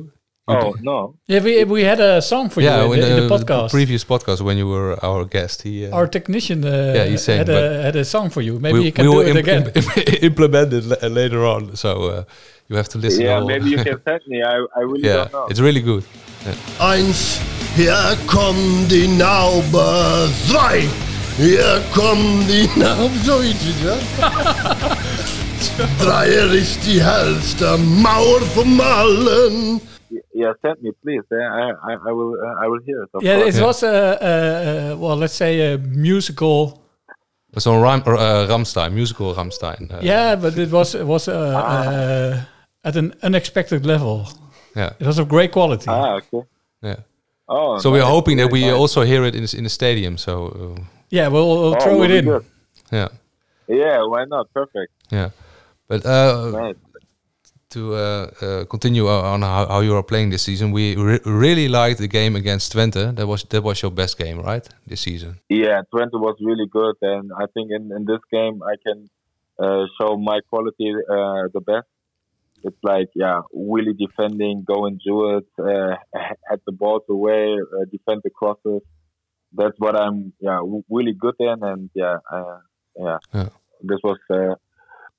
You Oh did- no, Yeah, we, we had a song for yeah, you in, the, in the uh, podcast. previous podcast when you were our guest. He, uh, Our technician uh, Yeah, he sang, had, but- a, had a song for you. Maybe we, you can we do will it im- again. im- implement it la- later on, so uh, you have to listen. Yeah, all- maybe you can send me. I, I really yeah, don't know. it's really good. Yeah. Eins, hier kommen die Nauber. Zwei, hier kommen die Nauber. So ist es, ja? Dreier ist die hellste Mauer vom Allen. yeah, send me please. Yeah, I, I, I will uh, I will hear it. Of yeah, it course. was a, uh, uh, well, let's say a musical. It's on Ram, uh, Ramstein musical Ramstein. Uh, yeah, but it was it was uh, Ah. uh, at an unexpected level. Yeah. It was of great quality. Ah, okay. yeah. Oh, so we're nice. hoping that we Nice. also hear it in, the- in the stadium. So uh, Yeah, we'll, we'll Oh, throw will it be in. good. yeah, Yeah, why not? Perfect. yeah. But uh, Nice. to uh, uh, continue on how, how you are playing this season, we re- really liked the game against Twente. That was that was your best game, right? This season. Yeah, Twente was really good, and I think in, in this game I can uh, show my quality uh, the best. It's like yeah, really defending, going duels, uh, had the balls away, uh, defend the crosses. That's what I'm yeah w- really good in, and yeah uh, yeah. Yeah. This was uh,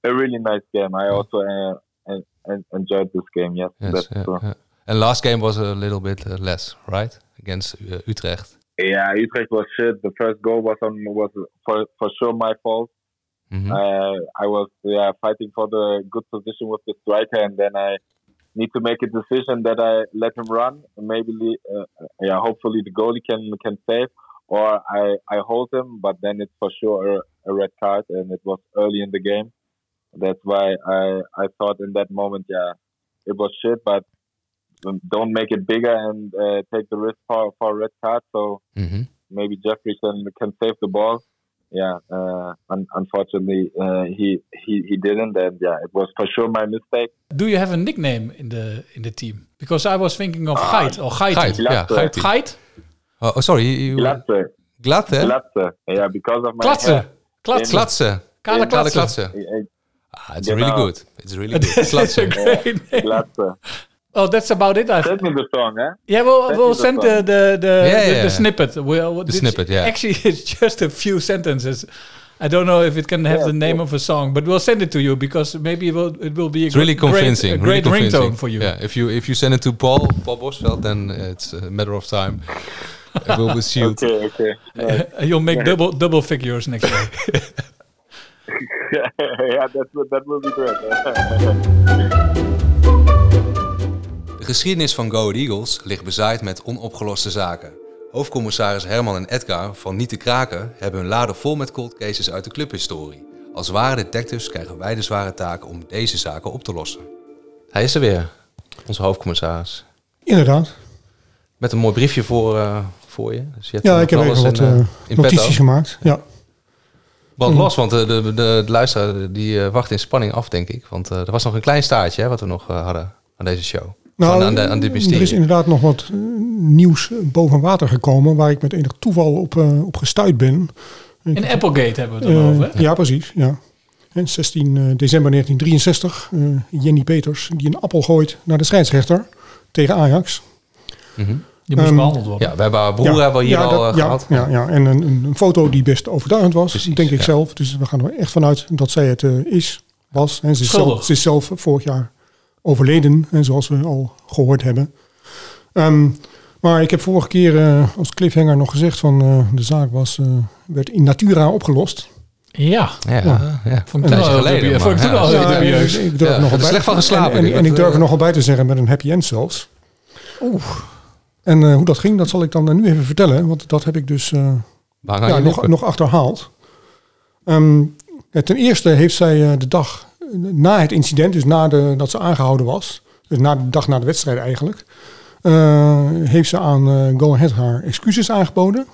a really nice game. I also uh, en- en- enjoyed this game. Yes, Yes, that's yeah, true. yeah. And last game was a little bit uh, less, right? Against uh, Utrecht. Yeah, Utrecht was shit. The first goal was on was for for sure my fault. Mhm. Uh, I was yeah fighting for the good position with the striker, and then I need to make a decision that I let him run. Maybe uh, yeah, hopefully the goalie can can save, or I I hold him, but then it's for sure a, a red card, and it was early in the game. That's why I I thought in that moment, yeah, it was shit, but um, don't make it bigger and uh, take the risk for for a red card. So Mhm. maybe Jeffrey can can save the ball. Yeah, uh, un- unfortunately uh, he he he didn't, and yeah, it was for sure my mistake. Do you have a nickname in the in the team? Because I was thinking Ah. of Geit or Geit. Geit, yeah, Geit. Geit? Oh, oh, sorry. You, you, Glatze, Eh? Glatte? Glatze, yeah, because of my Klatsen. hair. Klatsen. Klatsen. Kale Kale klatsen. Klatsen. Yeah, Ah, it's really Genau. good. It's really good. That's a Klatsen. great name. Glatze. Oh, that's about it. I Send me the song, eh? Yeah, we'll, Send we'll me the send the song. the the, Yeah, the, yeah. the snippet. We'll, the snippet, yeah. Actually, it's just a few sentences. I don't know if it can have Yeah, the of name of a song, but we'll send it to you because maybe it will, it will be a It's really great- convincing. Great, a great really convincing. ringtone for you. Yeah, if you if you send it to Paul Paul Bosveld, then it's a matter of time. it will be sealed. Okay, okay. Nice. You'll make double double figures next year. yeah, that will- that will be great. eh? De geschiedenis van Go Ahead Eagles ligt bezaaid met onopgeloste zaken. Hoofdcommissaris Herman en Edgar van Niet te Kraken hebben hun laden vol met cold cases uit de clubhistorie. Als ware detectives krijgen wij de zware taak om deze zaken op te lossen. Hij is er weer, onze hoofdcommissaris. Inderdaad. Met een mooi briefje voor, eh, voor je. Dus je hebt Ja, nog ik heb wel even eens wat een, eh, eh, in notities petto. gemaakt. Mm. Ja. Want los, want eh, de, de, de luisteraar die eh, wacht in spanning af, denk ik. Want eh, er was nog een klein staartje hè, wat we nog eh, hadden aan deze show. Van- aan, de- aan dit Nou, er is mysterie. inderdaad nog wat eh, nieuws boven water gekomen... waar ik met enig toeval op, eh, op gestuurd ben. In Applegate hebben we het dan Eh, over. hè? Ja, precies. Ja. En 16 eh, december 1963, eh, Jenny Peters, die een appel gooit naar de scheidsrechter tegen Ajax. Die moest Ehm, behandeld worden. Ja, we hebben haar broer hebben we hier ja, al dat- eh, ja, gehad. Ja, ja. en een, een, een foto die best overtuigend was, denk ik zelf. Dus we gaan er echt vanuit dat zij het eh, is, was. En ze, is Schuldig. zelf, ze is zelf vorig jaar overleden, en zoals we al gehoord hebben. Ehm, maar ik heb vorige keer eh, als cliffhanger nog gezegd van eh, de zaak was, eh, werd in natura opgelost. Ja. Ja, ja. Vond ik En- een tijdje Ja, geleden, dat- maar, vond ik toen ja. al Ja, dubieus. ja, Ik durf ja, er nog er is bij- slecht van geslapen, eh, En, en, dit. en ik durf er nog wel bij te zeggen met een happy end zelfs. Oeh. En eh, hoe dat ging, dat zal ik dan eh, nu even vertellen. Want dat heb ik dus eh, Waar gaan ja, je nog, lippen? nog achterhaald. Ehm, eh, ten eerste heeft zij eh, de dag na het incident, dus nadat dat ze aangehouden was, dus na de dag na de wedstrijd eigenlijk, eh, heeft ze aan eh, Go Ahead haar excuses aangeboden.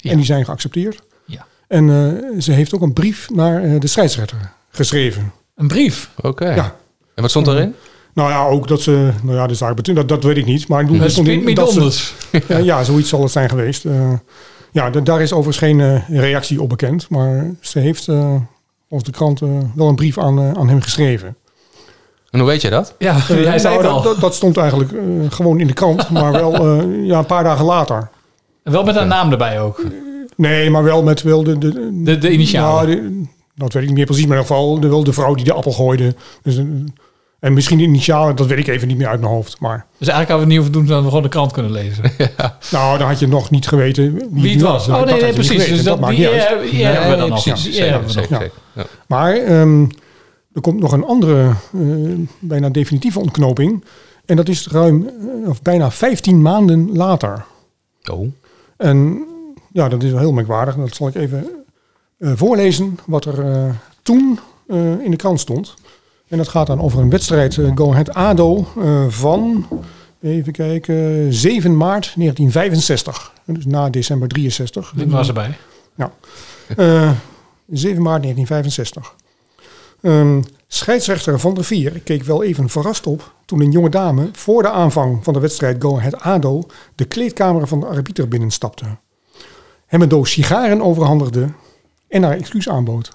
En die zijn geaccepteerd. Ja. En eh, ze heeft ook een brief naar eh, de scheidsrechter geschreven. Een brief? Oké. Ja. En wat stond erin? Nou ja, ook dat ze... Nou ja, de zaak betwint, dat, dat weet ik niet. Maar ik bedoel, Dat er stond is in Piet dat ze- Midonders. ja, Eh, ja, zoiets zal het zijn geweest. Eh, ja, d- daar is overigens geen eh, reactie op bekend. Maar ze heeft, eh volgens de krant, eh, wel een brief aan, eh, aan hem geschreven. En hoe weet je dat? Ja, Eh, nou, dat, dat, dat stond eigenlijk eh, gewoon in de krant, maar wel eh, ja, een paar dagen later. Wel met haar naam erbij ook. Nee, maar wel met wel de... De, De- de initialen. Nou, de- dat weet ik niet meer precies, maar in ieder geval de, wel de vrouw die de appel gooide. Dus, eh, en misschien de initialen, dat weet ik even niet meer uit mijn hoofd. Maar Dus eigenlijk hadden we het niet hoeven doen, zodat we gewoon de krant kunnen lezen. nou, dan had je nog niet geweten wie, Wie het was. Nou, Oh, dat nee, had nee, je niet precies. geweten. Dus dat, maakt die niet uit. eer- die eer hebben we dan nog. precies. Die eer Zeker, hebben we nog. zeker, zeker. Ja. Maar ehm, er komt nog een andere, eh, bijna definitieve ontknoping. En dat is ruim, eh, of bijna 15 maanden later. Oh. En ja, dat is wel heel merkwaardig. Dat zal ik even eh, voorlezen wat er eh, toen eh, in de krant stond. En dat gaat dan over een wedstrijd eh, Go Ahead ADO eh, van, even kijken, 7 maart 1965. Dus na december 63. Dit was erbij. Ja. Eh, 7 maart 1965. Ehm, scheidsrechter Van der Vier keek wel even verrast op toen een jonge dame voor de aanvang van de wedstrijd Go Ahead ADO de kleedkamer van de arbiter binnenstapte. Hem een doos sigaren overhandigde en haar excuus aanbood.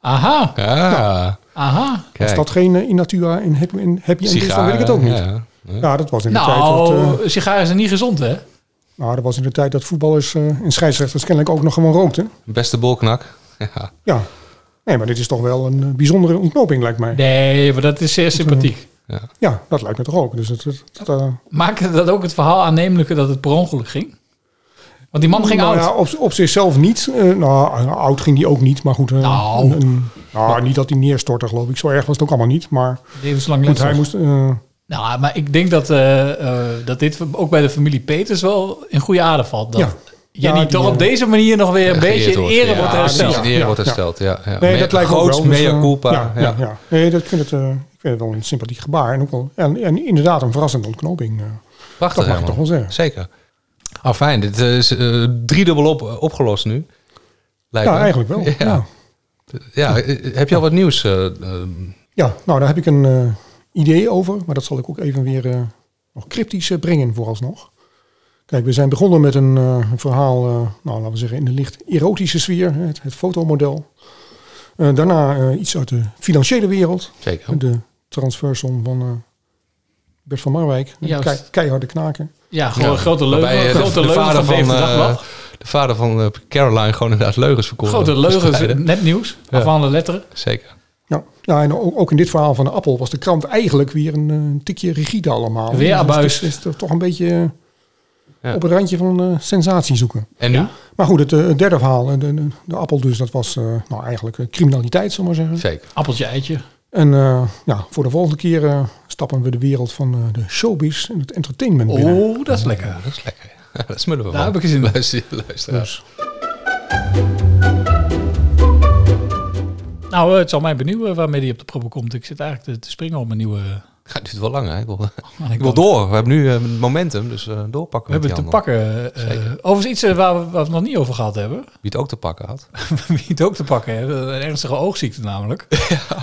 Aha. Ja. Aha. Als dat geen eh, in natura en happy, en happy end is, dan weet ik het ook niet. Ja, dat was in de tijd dat... eh, Nou, sigaren zijn niet gezond, hè? nou, dat was in de tijd dat voetballers eh, en scheidsrechters kennelijk ook nog gewoon rookten. Beste bolknak. Ja. Ja. Nee, maar dit is toch wel een eh, bijzondere ontknoping, lijkt mij. Nee, maar dat is zeer sympathiek. Ja, dat lijkt me toch ook. Dus het, het, het, eh, Maakte dat ook het verhaal aannemelijker dat het per ongeluk ging? Want die man ging nou oud. Ja, op, op zichzelf niet. Eh, nou, oud ging die ook niet, maar goed. eh, Nou. een- een- nou, niet dat hij neerstortte, geloof ik. Zo erg was het ook allemaal niet. Maar Levenslang goed, hij letsel. moest... eh, Nou, maar ik denk dat, eh, eh, dat dit ook bij de familie Peters wel in goede aarde valt. Dat Ja. Jenny Ja, die, toch op eh, deze manier nog weer een beetje in wordt, ere ja. wordt Ja, hersteld. precies, in ere wordt hersteld, ja, ja. Nee, Mea- dat lijkt me ook groots wel. Dus, mea eh, culpa, Ja, ja. ja. ja. Nee, dat vind het, eh, ik vind het wel een sympathiek gebaar. En, ook wel, en, en inderdaad een verrassende ontknoping. eh. Prachtig, Dat mag ik ja, toch man. wel zeggen. Zeker. Ah, fijn. Dit is eh driedubbel op, opgelost nu. Lijkt ja, me. eigenlijk wel. Ja. Ja. Ja, eh, heb je al wat nieuws? eh, eh, nou daar heb ik een eh, idee over. Maar dat zal ik ook even weer eh, nog cryptisch eh, brengen vooralsnog. Kijk, we zijn begonnen met een eh, een verhaal, eh, nou, laten we zeggen, in de licht erotische sfeer. Het, het fotomodel. Eh, daarna eh, iets uit de financiële wereld. Zeker. De transfersom van eh, Bert van Marwijk. Juist. Kei, keiharde knaken. Ja, gewoon een grote leugen. waarbij, eh, de- grote de leugen vader van Bever eh, Dagblad. de vader van eh, Caroline gewoon inderdaad leugens verkocht. Grote leugens, verspreiden. nepnieuws. Ja. Afhalen letteren. Zeker. Ja, ja en ook, ook in dit verhaal van de appel was de krant eigenlijk weer een, eh, een tikje rigide allemaal. Weer abuis. Dus het is, het is toch een beetje eh, Ja. op het randje van eh, sensatie zoeken. En nu? Maar goed, het, eh, het derde verhaal, eh, de, de, de appel dus, dat was eh, nou eigenlijk eh, criminaliteit, zal ik maar zeggen. Zeker. Appeltje, eitje. En eh, ja, voor de volgende keer eh, stappen we de wereld van eh, de showbiz en het entertainment binnen. Oh, dat is lekker. Dat is lekker. Ja, dat smullen we Daar van. Nou, heb ik Dus. gezien. Luister, luisteraars. Nou, eh, het zal mij benieuwen waarmee die op de proppen komt. Ik zit eigenlijk te, te springen op een nieuwe... eh, Het duurt wel lang, hè? Ik wil, Oh, ik ik wil door. We hebben nu eh, momentum, dus eh, doorpakken We hebben met te die handel. pakken. eh, Zeker. overigens iets eh, waar, we, waar we het nog niet over gehad hebben. Wie het ook te pakken had. Wie het ook te pakken heeft. Een ernstige oogziekte namelijk.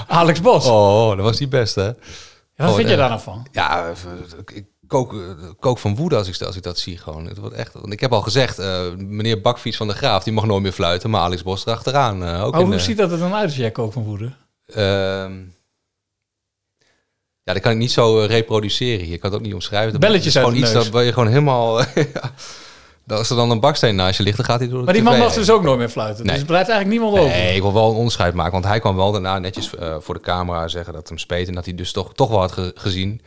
Alex Bos. Oh, dat was die beste, hè? wat Gewoon, vind je eh, daar nou van? Ja, eh, ik kook, eh, kook van woede als ik, als ik dat zie gewoon. Het wordt echt, want ik heb al gezegd, eh, meneer Bakfiets van de Graaf, die mag nooit meer fluiten, maar Alex Bos erachteraan. eh ook Oh, in, hoe eh, ziet dat er dan uit als jij kookt van woede? ehm, ja, dat kan ik niet zo eh, reproduceren hier. Ik kan het ook niet omschrijven. Dat Belletjes is uit gewoon de iets neus. dat waar je gewoon helemaal... ja, dat als er dan een baksteen naast je ligt, dan gaat hij door de Maar die man tv mag heen. dus ook nooit meer fluiten. Nee. Dus er blijft eigenlijk niemand over. Nee, ik wil wel een onderscheid maken. Want hij kwam wel daarna netjes eh, voor de camera zeggen dat hem speet. En dat hij dus toch, toch wel had ge- gezien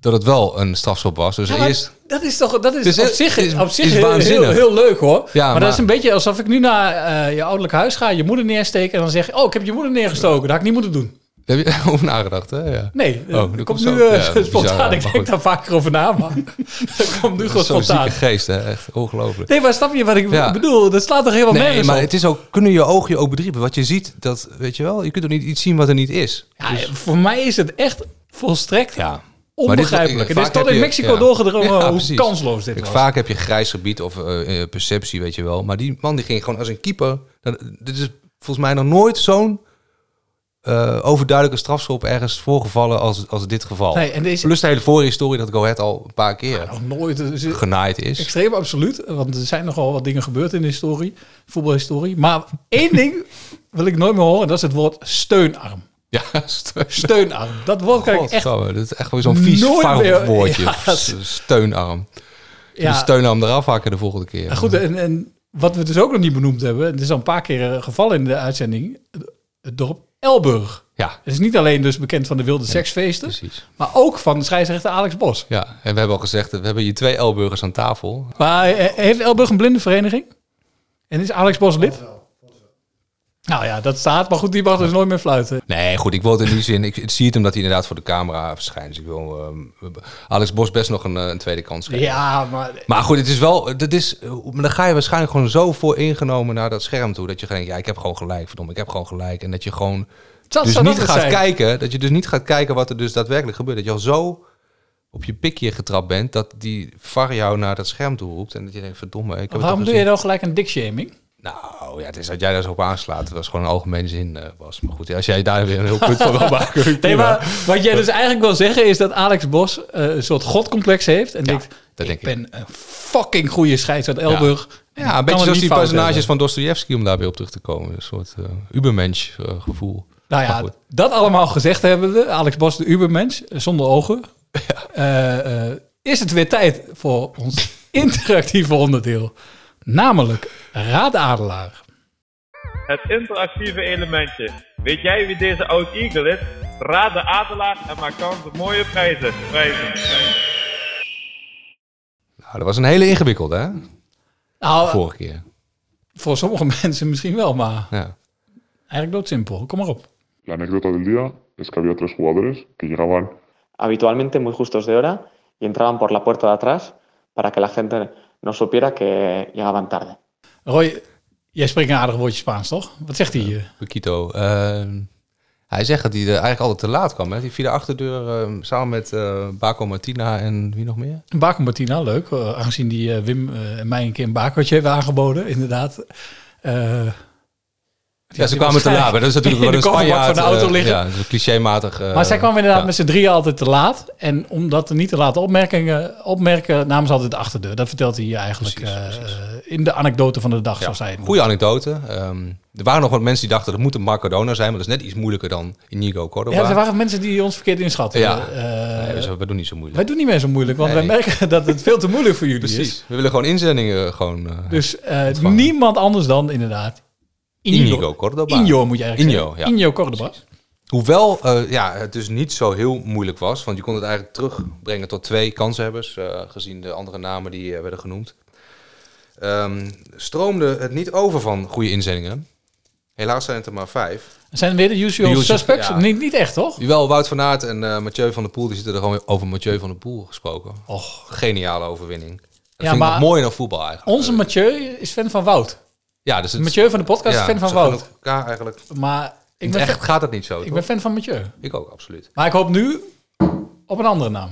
dat het wel een strafschop was. Dus Ja, maar eerst... Dat is toch dat is Dus op het zich, is- op zich is heel, heel, waanzinnig. heel leuk hoor. Ja, maar, maar- dat is een beetje alsof ik nu naar eh, je ouderlijk huis ga, je moeder neersteken en dan zeg je: Oh, ik heb je moeder neergestoken. Dat had ik niet moeten doen. Daar heb je over nagedacht, hè? Ja. Nee, Oh, dat dat komt zo. nu eh, Ja, bizar, spontaan. maar ik denk goed. daar vaker over na, maar dat komt nu gewoon Dat is Zo'n spontaan. zieke geest, hè? Echt ongelooflijk. Nee, maar snap je wat ik Ja. bedoel? Dat slaat toch helemaal Nee, nergens maar op? het is ook, kunnen je ogen je ook bedriepen? Wat je ziet, dat weet je wel, je kunt er niet iets zien wat er niet is. Ja, voor mij is het echt volstrekt ja. onbegrijpelijk. Het is tot in Mexico doorgedrongen. doorgedrongen hoe kansloos dit was. Vaak heb je grijs gebied of eh, eh, perceptie, weet je wel. Maar die man die ging gewoon als een keeper. Dan- dit is volgens mij nog nooit zo'n eh, overduidelijke strafschop ergens voorgevallen als, als dit geval. Nee, en deze- Plus de hele voorhistorie dat Go Ahead al een paar keer nog nooit eh, ze- genaaid is. Extreem absoluut, want er zijn nogal wat dingen gebeurd in de historie, voetbalhistorie. Maar één ding wil ik nooit meer horen, dat is het woord steunarm. Ja, steun. Steunarm. Dat woord kan ik echt... Godsamme, dat is echt gewoon zo'n vies nooit meer- vuil woordje. Ja, dat- S- Steunarm. Ja. De steunarm eraf hakken de volgende keer. Nou Goed, en, en wat we dus ook nog niet benoemd hebben, en het is al een paar keer een geval in de uitzending, het- het dorp Elburg. Ja. Het is niet alleen dus bekend van de wilde seksfeesten, maar ook van scheidsrechter Alex Bos. Ja, en we hebben al gezegd, we hebben hier twee Elburgers aan tafel. Maar eh, heeft Elburg een blindenvereniging? En is Alex Bos lid? Nou ja, dat staat, maar goed, die mag dus nooit meer fluiten. Nee, goed, ik wil het in die zin. Ik, ik zie het hem dat hij inderdaad voor de camera verschijnt. Dus ik wil ehm, Alex Bos best nog een, eh, een tweede kans geven. Ja, maar Maar goed, het is wel. Dat is, eh, maar dan ga je waarschijnlijk gewoon zo voor ingenomen naar dat scherm toe. Dat je denkt, ja, ik heb gewoon gelijk, verdomme, ik heb gewoon gelijk. En dat je gewoon Dat dus zou niet dat het gaat zijn. kijken. Dat je dus niet gaat kijken wat er dus daadwerkelijk gebeurt. Dat je al zo op je pikje getrapt bent dat die VAR jou naar dat scherm toe roept. En dat je denkt, verdomme, ik heb het waarom toch doe je dan gelijk een dickshaming? Oh ja, het is dat jij daar zo op aanslaat. Dat was gewoon een algemene zin, eh Bas. Maar goed, als jij daar weer een heel punt van wil maken. Nee, prima. maar wat jij dus eigenlijk wil zeggen is dat Alex Bos eh, een soort godcomplex heeft. En denkt, dat denk ik. ben een fucking goede scheids uit Elburg. Ja, Ik kan een beetje het zoals niet die fout personages hebben. van Dostoevsky om daar weer op terug te komen. Een soort eh ubermensch eh, gevoel. Nou Maar ja, goed. dat allemaal gezegd hebben we. Alex Bos, de ubermensch, eh, zonder ogen. Eh, eh, is het weer tijd voor ons interactieve onderdeel. Namelijk Raad Adelaar. Het interactieve elementje. Weet jij wie deze oud Eagle is? Raad de Adelaar en maak kans op mooie prijzen. Prijzen. Nou, dat was een hele ingewikkelde, hè? Nou, Vorige keer. Voor sommige mensen misschien wel, maar Ja. eigenlijk doodsimpel. Kom maar op. La anécdota del día es que había tres jugadores que llegaban habitualmente muy justos de hora y entraban por la puerta de atrás para que la gente no supiera que llegaban tarde. Roy, jij spreekt een aardig woordje Spaans, toch? Wat zegt hij hier? Paquito. ehm, hij zegt dat hij er eigenlijk altijd te laat kwam. Hè? Die via de achterdeur ehm, samen met eh Baco Martina en wie nog meer? Baco Martina, leuk. Eh, aangezien die eh, Wim eh, en mij een keer een bakertje heeft aangeboden, inderdaad. Eh, Ja, ze die kwamen was te laat. gelijk Maar dat is natuurlijk in wel een de kofferbak Spanjaard. van de auto eh, liggen. ja, dat is clichématig. eh, maar zij kwamen inderdaad ja. met z'n drieën altijd te laat. En omdat er niet te laat opmerkingen opmerken, namen ze altijd de achterdeur. Dat vertelt hij hier eigenlijk eh, in de anekdote van de dag, zoals hij het noemt. Goede anekdote. Ehm, er waren nog wat mensen die dachten dat moet een Maradona zijn, maar dat is net iets moeilijker dan Inigo Cordoba. Ja, er waren mensen die ons verkeerd inschatten. Ja. Eh, Nee, dus we doen niet zo moeilijk. wij doen niet meer zo moeilijk, want Nee. wij merken dat het veel te moeilijk voor jullie Precies. is. We willen gewoon inzendingen. Gewoon, eh, Dus eh, niemand anders dan inderdaad Inigo, Cordoba. Injo moet je eigenlijk Inyo, zeggen. ja. Injo Cordoba. Hoewel eh, ja, het dus niet zo heel moeilijk was, want je kon het eigenlijk terugbrengen tot twee kanshebbers, eh, gezien de andere namen die eh, werden genoemd. Ehm, stroomde het niet over van goede inzendingen. Helaas zijn het er maar vijf. Zijn er weer de usual De usual, suspects? ja. Niet, niet echt, toch? Jawel, Wout van Aert en eh, Mathieu van der Poel, die zitten er gewoon weer over Mathieu van der Poel gesproken. Och. Geniale overwinning. Dat Ja, vind maar- ik nog mooier dan voetbal eigenlijk. Onze Mathieu is fan van Wout. Ja, dus het- Mathieu van de podcast is Ja, fan van ze gunnen Wout. elkaar eigenlijk. Maar In ik het ben, echt fan- gaat dat niet zo, Ik toch? ben fan van Mathieu. Ik ook, absoluut. Maar ik hoop nu op een andere naam.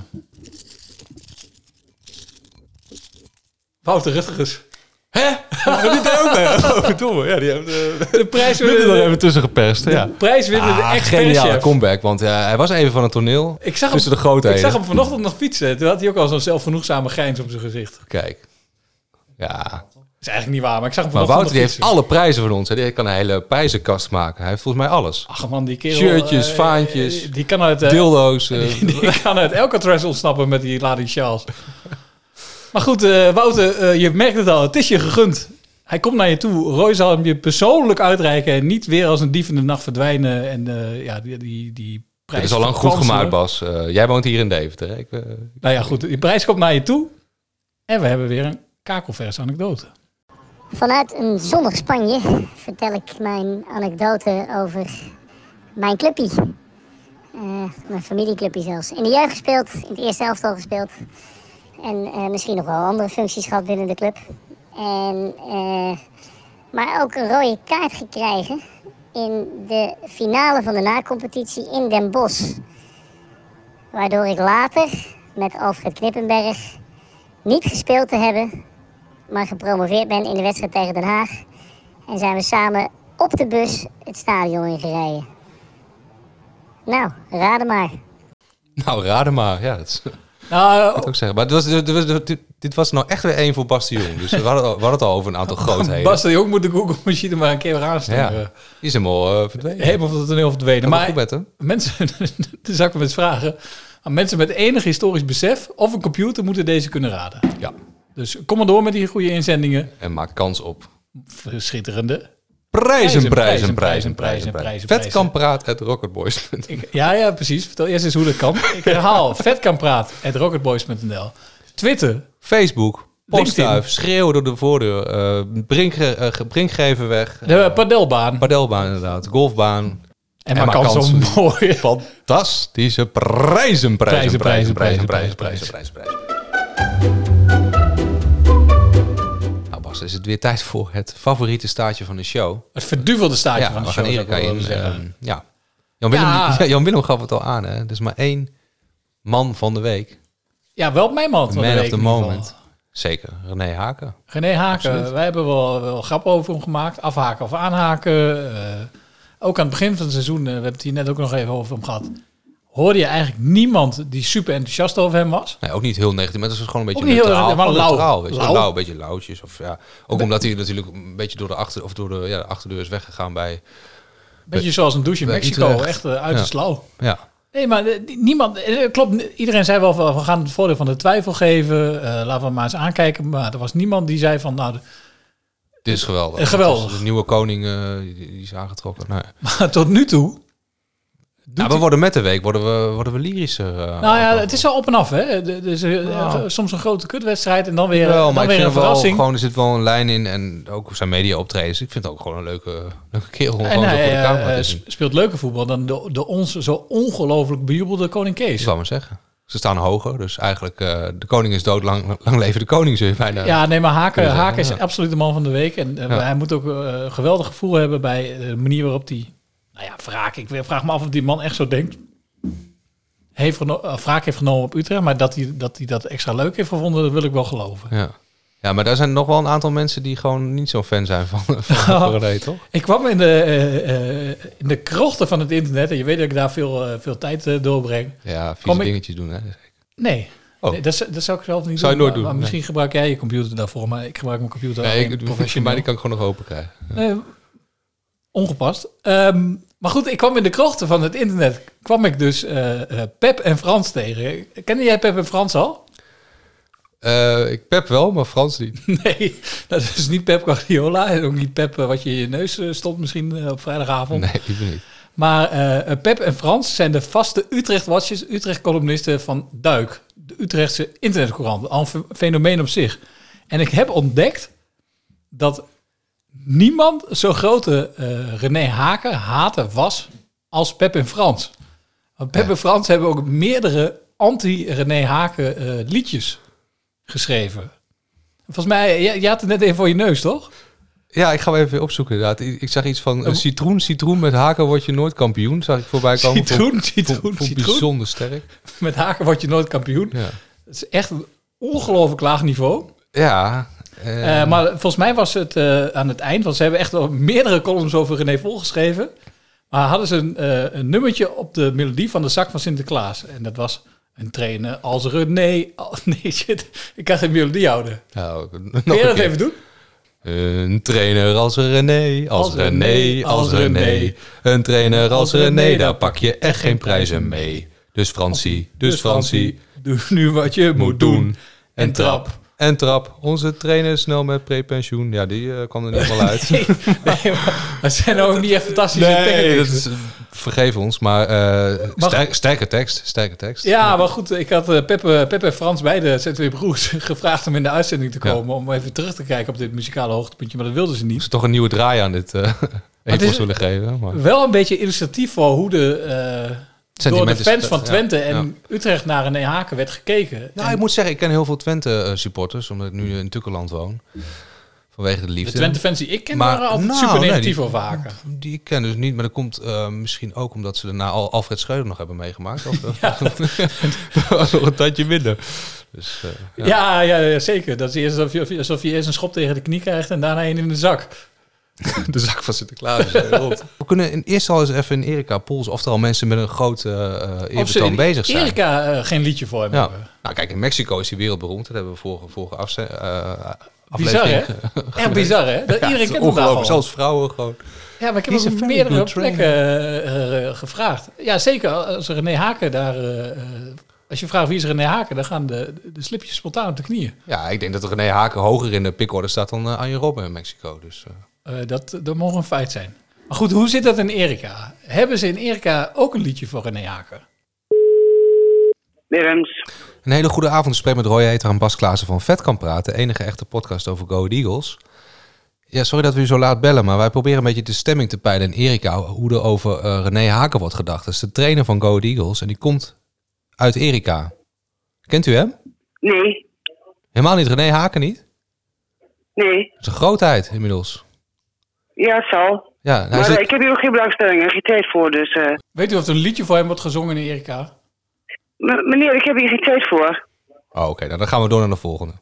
Wouter Rutgers. Hè? Hebben die daar ook bij? Oh, verdomme. Ja, die hebben de, de prijs winnen. er even tussen gepest. Ja. prijs winnen de Ah, ex geniale perschef. comeback, want eh, hij was even van het toneel. Ik zag, tussen hem, de grootheden. ik zag hem vanochtend nog fietsen. Toen had hij ook al zo'n zelfgenoegzame grijns op zijn gezicht. Kijk. Ja. is eigenlijk niet waar, maar ik zag hem Maar vanochtend Wouter die nog heeft alle prijzen van ons. Hè. Die kan een hele prijzenkast maken. Hij heeft volgens mij alles. Ach man, die kerel... Shirtjes, eh, vaantjes, Die kan uit... eh, dildo's. eh, die, die kan uit Alcatraz ontsnappen met die Ladi Charles. maar goed, eh, Wouter, eh, je merkt het al. Het is je gegund. Hij komt naar je toe. Roy zal hem je persoonlijk uitreiken. En niet weer als een dief in de nacht verdwijnen. En eh, ja, die, die, die Het prijs is al lang goed vakantie. gemaakt, Bas. Eh, jij woont hier in Deventer. hè? Ik, eh, Nou ja, goed. Die prijs komt naar je toe. En we hebben weer een kakelvers anekdote. Vanuit een zonnig Spanje vertel ik mijn anekdote over mijn clubje. Eh, mijn familieclubje zelfs. In de jeugd gespeeld, in het eerste elftal gespeeld. En eh, misschien nog wel andere functies gehad binnen de club. En, eh, maar ook een rode kaart gekregen in de finale van de nacompetitie in Den Bosch. Waardoor ik later met Alfred Knippenberg niet gespeeld te hebben maar gepromoveerd ben in de wedstrijd tegen Den Haag. En zijn we samen op de bus het stadion ingereden. Nou, raden maar. nou, raden maar. Ja, dat is... Nou, ik ook zeggen. Maar dit was, dit, was- dit- dit was nou echt weer één voor Bas de Jong. Dus we hadden, het al- we hadden het al over een aantal grootheden. Bas de Jong moet de Google-machine maar een keer weer aansturen. Ja, die is helemaal eh, verdwenen. Helemaal van het toneel verdwenen. Gaat wel Maar goed met hem. mensen, daar zou ik hem eens vragen. Aan mensen met enig historisch besef of een computer moeten deze kunnen raden. Ja. Dus kom maar door met die goede inzendingen. En maak kans op. Schitterende. Prijzen, prijzen, prijzen, prijzen, prijzen, prijzen. prijzen, Vet prijzen. kan praat at rocketboys. Ik- Ja, ja, precies. Vertel eerst eens hoe dat kan. Ik herhaal, vet kan praat, at rocketboys.nl. Twitter, Facebook, postduif, LinkedIn. schreeuwen door de voordeur, eh brink, eh, ge- brinkgeven weg. De eh, padelbaan. Padelbaan inderdaad, golfbaan. En maar kans op mooie- Fantastische prijzen, prijzen, prijzen, prijzen, prijzen, prijzen, prijzen, prijzen. Nou Bas, is het weer tijd voor het favoriete staartje van de show. het verduvelde staartje ja, van de we show. gaan zou ik Erika wel in. willen zeggen. eh, ja. Jan, Willem, Ja. Jan Willem gaf het al aan, hè. Er is maar één man van de week. ja, wel op mijn man van man de week of eh, the in ieder geval. moment. Zeker, René Haken. René Haken, Absoluut. wij hebben wel, wel grappen over hem gemaakt. Afhaken of aanhaken. eh, ook aan het begin van het seizoen, eh, we hebben het hier net ook nog even over hem gehad. Hoorde je eigenlijk niemand die super enthousiast over hem was? Nee, ook niet heel negatief, maar het is gewoon een beetje Ook niet heel neutraal. erg, maar Gewoon lauw. neutraal, weet je, wel. Lauw. lauw, een beetje lauwtjes. Of, ja. Ook omdat hij natuurlijk een beetje door de, achter, of door de, ja, de achterdeur is weggegaan bij... Beetje zoals een douche in bij Mexico, Utrecht. echt, eh, uiterst ja. lauw. Ja. Nee, maar eh, die- niemand. eh, Klopt, n- iedereen zei wel van we gaan het voordeel van de twijfel geven. eh, laten we maar eens aankijken. Maar er was niemand die zei van nou. de- Dit is geweldig. Eh, geweldig. Het is De nieuwe koning eh, die, die is aangetrokken. Nou, ja. Maar tot nu toe. Nou, we worden met de week worden we, worden we lyrischer. eh. nou ja, het is wel op en af. Hè. De- de- Dus, eh, Nou. Soms een grote kutwedstrijd en dan weer, Jawel, dan maar ik weer vind een er wel verrassing. gewoon, er zit wel een lijn in en ook zijn media optredens. Ik vind het ook gewoon een leuke, leuke kerel om en gewoon zo voor hij de camera eh, te zien. sp- speelt leuker voetbal dan de, de ons zo ongelooflijk bejubelde Koning Kees. Ik zou maar zeggen. Ze staan hoger, dus eigenlijk eh, de koning is dood, lang, lang leven de koning zul je bijna Ja, nee, maar Haken, kunnen zeggen. Haken is Ja. absoluut de man van de week. En eh, Ja. hij moet ook eh, een geweldig gevoel hebben bij eh, de manier waarop hij... Nou ja, Vraag. Ik vraag me af of die man echt zo denkt. Heeft geno- eh, wraak heeft genomen op Utrecht. Maar dat hij, dat hij dat extra leuk heeft gevonden, dat wil ik wel geloven. Ja. ja, maar daar zijn nog wel een aantal mensen die gewoon niet zo'n fan zijn van, van Oh. René, toch? Ik kwam in de, eh, eh, in de krochten van het internet. En je weet dat ik daar veel, eh, veel tijd eh, doorbreng. Ja, vieze Kom ik- dingetjes doen, hè. Nee. Oh. Nee, dat, z- dat zou ik zelf niet Zou doen. je nooit maar- doen, maar misschien gebruik jij je computer daarvoor, maar ik gebruik mijn computer Nee, alleen ik, voor professioneel. mij die kan ik gewoon nog open krijgen. Nee, ongepast. Ehm, maar goed, ik kwam in de krochten van het internet. Kwam ik dus eh, eh, Pep en Frans tegen. Kende jij Pep en Frans al? Eh, ik pep wel, maar Frans niet. Nee, dat is niet Pep Guardiola. En ook niet Pep eh, wat je in je neus eh, stopt misschien eh, op vrijdagavond. Nee, ik ben niet. Maar eh, Pep en Frans zijn de vaste Utrecht-watchers, Utrecht-columnisten van Duik. De Utrechtse internetcourant. Al een fe- fenomeen op zich. En ik heb ontdekt dat niemand zo'n grote eh, René Haken hater was als Pep en Frans. Want Pep en Frans hebben ook meerdere anti-René Haken eh, liedjes geschreven. Volgens mij, jij, jij had het net even voor je neus, toch? Ja, ik ga hem even opzoeken inderdaad. Ik, ik zag iets van eh, citroen, citroen, met haken word je nooit kampioen. Zag ik voorbij komen. Citroen, Vond- citroen, vond- vond citroen. bijzonder sterk. Met Haken word je nooit kampioen. Ja. Het is echt een ongelooflijk laag niveau. Ja. eh, Eh, maar volgens mij was het eh, aan het eind, want ze hebben echt al meerdere columns over René Vol geschreven. Maar hadden ze een, eh, een nummertje op de melodie van de zak van Sinterklaas. En dat was een trainer als René. al- nee, shit. Ik kan geen melodie houden. nou, Kun nog je een dat keer. even doen? Een trainer als René, als, Als René, René, als als René. René. Een trainer als Als René, René, daar pak je echt geen prijzen mee. Dus Fransie, dus Fransie, Doe nu wat je moet doen. en trap. En Trap, onze trainer snel met prepensioen. Ja, die eh, kwam er niet helemaal uit. Dat zijn ook niet echt fantastische nee, dat tekenen. is, vergeef ons, maar eh Mag- sterk- sterke tekst. Sterke tekst. Ja, maar goed, ik had eh, Peppe, Peppe en Frans, beide eh, ZW Broers, gevraagd om in de uitzending te Ja. komen. Om even terug te kijken op dit muzikale hoogtepuntje, maar dat wilden ze niet. Ze toch een nieuwe draai aan dit eh het epos is- willen geven. Maar. Wel een beetje illustratief voor hoe de, eh, door de Sentiment is- fans van ja, Twente en ja. Utrecht naar René Haken werd gekeken. Nou, ik moet zeggen, ik ken heel veel Twente-supporters, omdat ik nu in Tukkeland woon. Vanwege de liefde. De Twente-fans die ik ken, waren altijd super negatief over Haken. Nou, Die ik ken dus niet, maar dat komt eh, misschien ook omdat ze daarna al Alfred Schreuder nog hebben meegemaakt. Of, eh, dat was nog een tandje minder. Dus, eh, Ja, ja. Ja, ja, zeker. Dat is eerst alsof je, alsof je eerst een schop tegen de knie krijgt en daarna een in de zak. De zak van Sinterklaas. eh, rond. We kunnen in eerst al eens even in Erika polsen of er al mensen met een groot eh eh, Of ze eerbetoon in bezig zijn. Erika eh, geen liedje voor hem Ja. hebben. Nou kijk, in Mexico is hij wereldberoemd. Dat hebben we vorige, vorige afze- eh, Bizar, hè? aflevering. eh, Echt bizar, hè? Dat Ja, iedereen kent het is hem daarvan. Ongelooflijk, zelfs vrouwen gewoon. Ja, maar ik heb He's hem a op very meerdere good trainer. plekken eh, eh, gevraagd. Ja, zeker. Als René Haken daar... eh, eh, als je vraagt wie is René Haken, dan gaan de, de slipjes spontaan op de knieën. Ja, ik denk dat René Haken hoger in de pickorde staat dan eh, Arjen Robben in Mexico. Dus, eh. Eh, dat, dat mogen een feit zijn. Maar goed, hoe zit dat in Erika? Hebben ze in Erika ook een liedje voor René Haken? Berends. Een hele goede avond. Ik spreek met Roy Heter en Bas Klaassen van Vet kan praten. De enige echte podcast over Go Ahead Eagles. Ja, sorry dat we u zo laat bellen, maar wij proberen een beetje de stemming te peilen in Erika. Hoe er over eh, René Haken wordt gedacht. Dat is de trainer van Go Ahead Eagles en die komt uit Erika. Kent u hem? Nee, Helemaal niet, René Haken niet? nee. Dat is een grootheid inmiddels. Ja, het zal. Ja, hij maar zit- eh, ik heb hier ook geen belangstelling en geen tijd voor, dus... eh, Weet u of er een liedje voor hem wordt gezongen in Erika? m- meneer, ik heb hier geen tijd voor. Oh, oké, nou, dan gaan we door naar de volgende.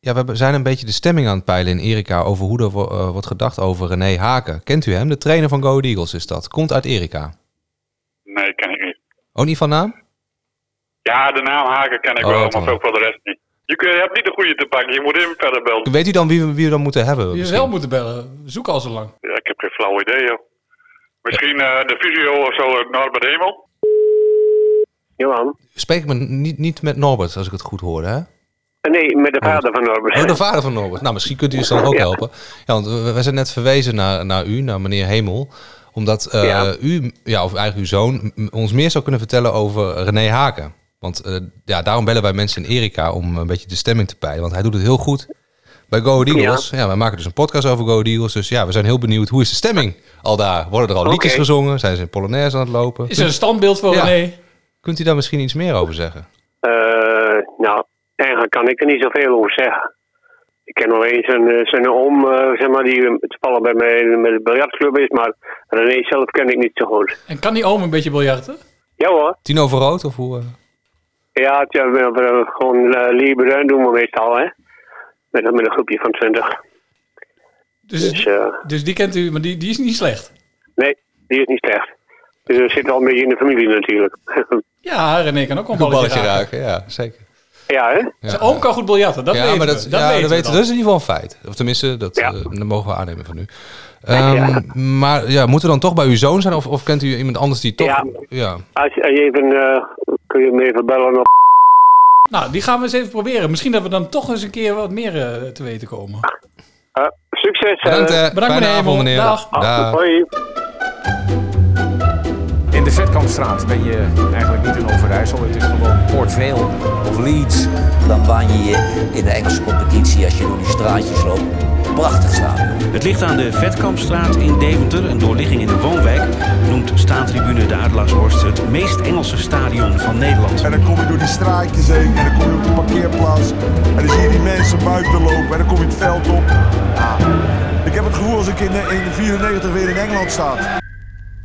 Ja, we hebben- zijn een beetje de stemming aan het peilen in Erika over hoe er wo- eh, wordt gedacht over René Haken. Kent u hem? De trainer van Go Ahead Eagles is dat. Komt uit Erika. Nee, ken ik niet. Ook niet van naam? Ja, de naam Nou, Haken ken ik Oh, wel, wat maar dan. ook wel de rest niet. Je, kun- je hebt niet de goede te pakken, je moet even verder bellen. Weet u dan wie we, wie we dan moeten hebben? Je Misschien? wel moeten bellen. Zoek al zo lang. Ja, ik heb geen flauw idee, joh. Misschien eh, de fysio of zo uit Norbert Hemel? Johan? Spreek ik me niet, niet met Norbert, als ik het goed hoorde, hè? Nee, met de vader van Norbert. Oh, de vader van Norbert. Nou, misschien kunt u ons dan ook helpen. Ja, want we, we zijn net verwezen naar, naar u, naar meneer Hemel. Omdat eh, Ja. u, ja, of eigenlijk uw zoon, m- ons meer zou kunnen vertellen over René Haken. Want eh, ja, daarom bellen wij mensen in Erika om een beetje de stemming te peilen. Want hij doet het heel goed bij Go Ahead Eagles. Ja. wij maken dus een podcast over Go Ahead Eagles. Dus ja, we zijn heel benieuwd. Hoe is de stemming al daar? Worden er al liedjes Oké. gezongen? Zijn ze in Polonaise aan het lopen? Is er een standbeeld voor Dus- Ja. René? Kunt u daar misschien iets meer over zeggen? Eh, nou, eigenlijk kan ik er niet zoveel over zeggen. Ik ken alleen zijn, eh, zijn oom, eh, zeg maar, die eh, toevallig bij mij met de biljartclub is, maar René zelf ken ik niet zo goed. En kan die oom een beetje biljarten? Ja hoor. Tien over rood of hoe? eh? Ja, tja, we, we- we- gewoon eh libre doen we meestal, hè. Met, een- met een groepje van twintig. Dus, eh, Dus die kent u, maar die, die is niet slecht. nee, die is niet slecht. Dus dat zit wel een beetje in de familie natuurlijk. Ja, René kan ook wel een Een balletje, raken. raken, ja, zeker. ja, hè? Zijn oom kan goed biljarten, dat ja, weten maar dat, we. ja, dat weten we. we Dat is dan. in ieder geval een feit. Of tenminste, dat, eh, dat mogen we aannemen van u. Ehm, Maar ja, moeten we dan toch bij uw zoon zijn? Of, of kent u iemand anders die toch... Ja. Als je als je even, eh, kun je hem even bellen op... Nou, die gaan we eens even proberen. Misschien dat we dan toch eens een keer wat meer eh, te weten komen. Eh, succes! hè. Bedankt, eh, Bedankt, fijne meneer avond, Hemel. meneer. Dag. Dag. Hoi. In de Vetkampstraat ben je eigenlijk niet in Overijssel. Het is gewoon Port Vale. Of Leeds, dan baan je je in de Engelse competitie als je door die straatjes loopt. Prachtig stadion. Het ligt aan de Vetkampstraat in Deventer, een doorligging in de woonwijk. Noemt staantribune de Adelaarshorst het meest Engelse stadion van Nederland. En dan kom je door die straatjes heen en dan kom je op de parkeerplaats. En dan zie je die mensen buiten lopen en dan kom je het veld op. Ah, ik heb het gevoel als ik in, eh, in 94 weer in Engeland sta.